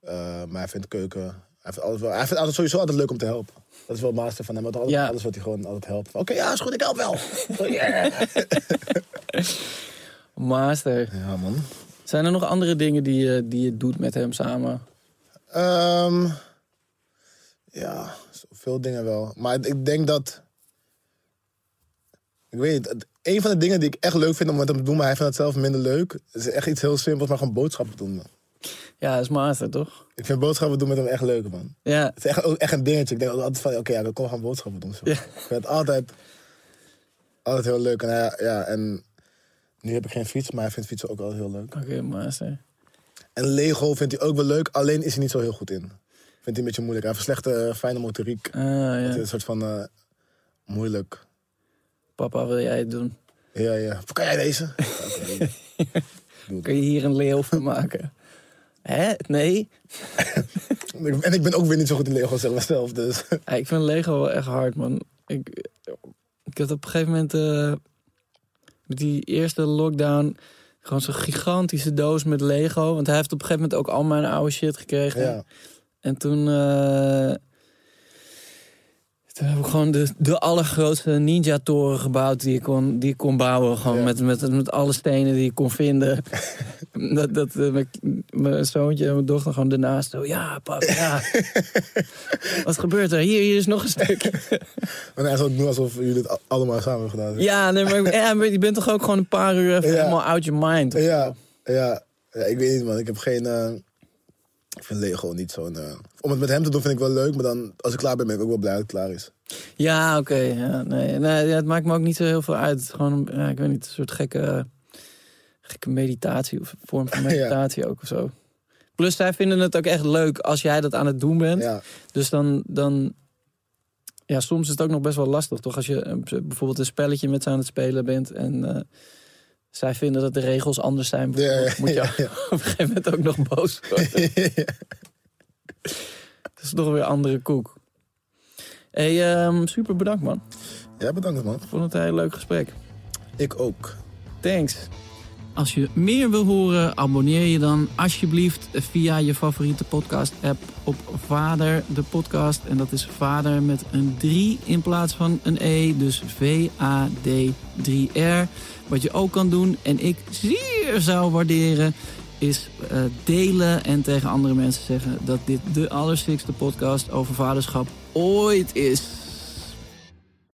S4: Eh, maar hij vindt keuken. Hij vindt, altijd wel, hij vindt altijd sowieso altijd leuk om te helpen. Dat is wel master van hem. Want altijd,
S3: Ja.
S4: Alles wat hij gewoon altijd helpt. Oké, ja, is goed, ik help wel. Zo, yeah.
S3: Master.
S4: Ja, man.
S3: Zijn er nog andere dingen die je, die je doet met hem samen?
S4: Ehm, ja, zoveel dingen wel. Maar ik denk dat. Ik weet niet. het- Een van de dingen die ik echt leuk vind om met hem te doen, maar hij vindt het zelf minder leuk, is echt iets heel simpels, maar gewoon boodschappen doen. man.
S3: Ja, dat is master, toch?
S4: Ik vind boodschappen doen met hem echt leuk, man.
S3: Ja.
S4: Het is echt, ook echt een dingetje. Ik denk ook altijd van, oké, ja, we komen gaan boodschappen doen. Zo.
S3: Ja.
S4: Ik vind het altijd, altijd heel leuk. En, hij- ja, en nu heb ik geen fiets, maar hij vindt fietsen ook altijd heel leuk.
S3: Oké, master.
S4: En Lego vindt hij ook wel leuk, alleen is hij niet zo heel goed in. Vindt hij een beetje moeilijk. Hij heeft een slechte, eh, fijne motoriek.
S3: Ah,
S4: Het is
S3: ja.
S4: een soort van eh, moeilijk.
S3: Papa, wil jij het doen?
S4: Ja, ja. Kan jij deze? Oké.
S3: Kun je hier een leeuw van maken? Hè? Nee?
S4: en ik ben ook weer niet zo goed in Lego zeg maar zelf, dus...
S3: Ja, Eh, ik vind Lego wel echt hard, man. Ik, ik had op een gegeven moment... eh, met die eerste lockdown... Gewoon zo'n gigantische doos met Lego. Want hij heeft op een gegeven moment ook al mijn oude shit gekregen.
S4: Ja.
S3: En toen... eh, toen heb ik gewoon de, de allergrootste ninja-toren gebouwd die ik kon, die ik kon bouwen. Gewoon
S4: Ja.
S3: met, met, met alle stenen die ik kon vinden. dat dat eh, mijn, mijn zoontje en mijn dochter gewoon daarnaast zo... Ja, pap, ja. Wat gebeurt er? Hier, hier is nog een stuk.
S4: En hij zal ook doen alsof jullie het a- allemaal samen hebben gedaan.
S3: ja, nee, maar, ja, maar je bent toch ook gewoon een paar uur even
S4: Ja.
S3: helemaal out your mind.
S4: Ja, ja, ja, ik weet niet, man. Ik heb geen. eh, ik vind Lego niet zo'n. eh, om het met hem te doen vind ik wel leuk, maar dan als ik klaar ben, ben ik ook wel blij dat het klaar is.
S3: Ja, oké. ja, nee, nee, ja, het maakt me ook niet zo heel veel uit. Het is gewoon, een- ja, ik weet niet, een soort gekke, gekke meditatie of een vorm van meditatie ook of zo. Plus, zij vinden het ook echt leuk als jij dat aan het doen bent.
S4: Ja,
S3: Dus dan, dan, ja, soms is het ook nog best wel lastig, toch? Als je eh, bijvoorbeeld een spelletje met ze aan het spelen bent en eh, zij vinden dat de regels anders zijn,
S4: Ja, ja,
S3: bijvoorbeeld, moet je op een gegeven moment ook nog boos worden. Dat is nog weer andere koek. hey, ehm, super bedankt man.
S4: ja bedankt, man.
S3: Ik vond het een heel leuk gesprek.
S4: Ik ook.
S3: Thanks.
S1: Als je meer wil horen, abonneer je dan alsjeblieft via je favoriete podcast-app op Vader de Podcast. En dat is Vader met een 3 in plaats van een E, dus V-A-D-3-R. Wat je ook kan doen, en ik zeer zou waarderen, is eh, delen en tegen andere mensen zeggen dat dit de allerstikste podcast over vaderschap ooit is.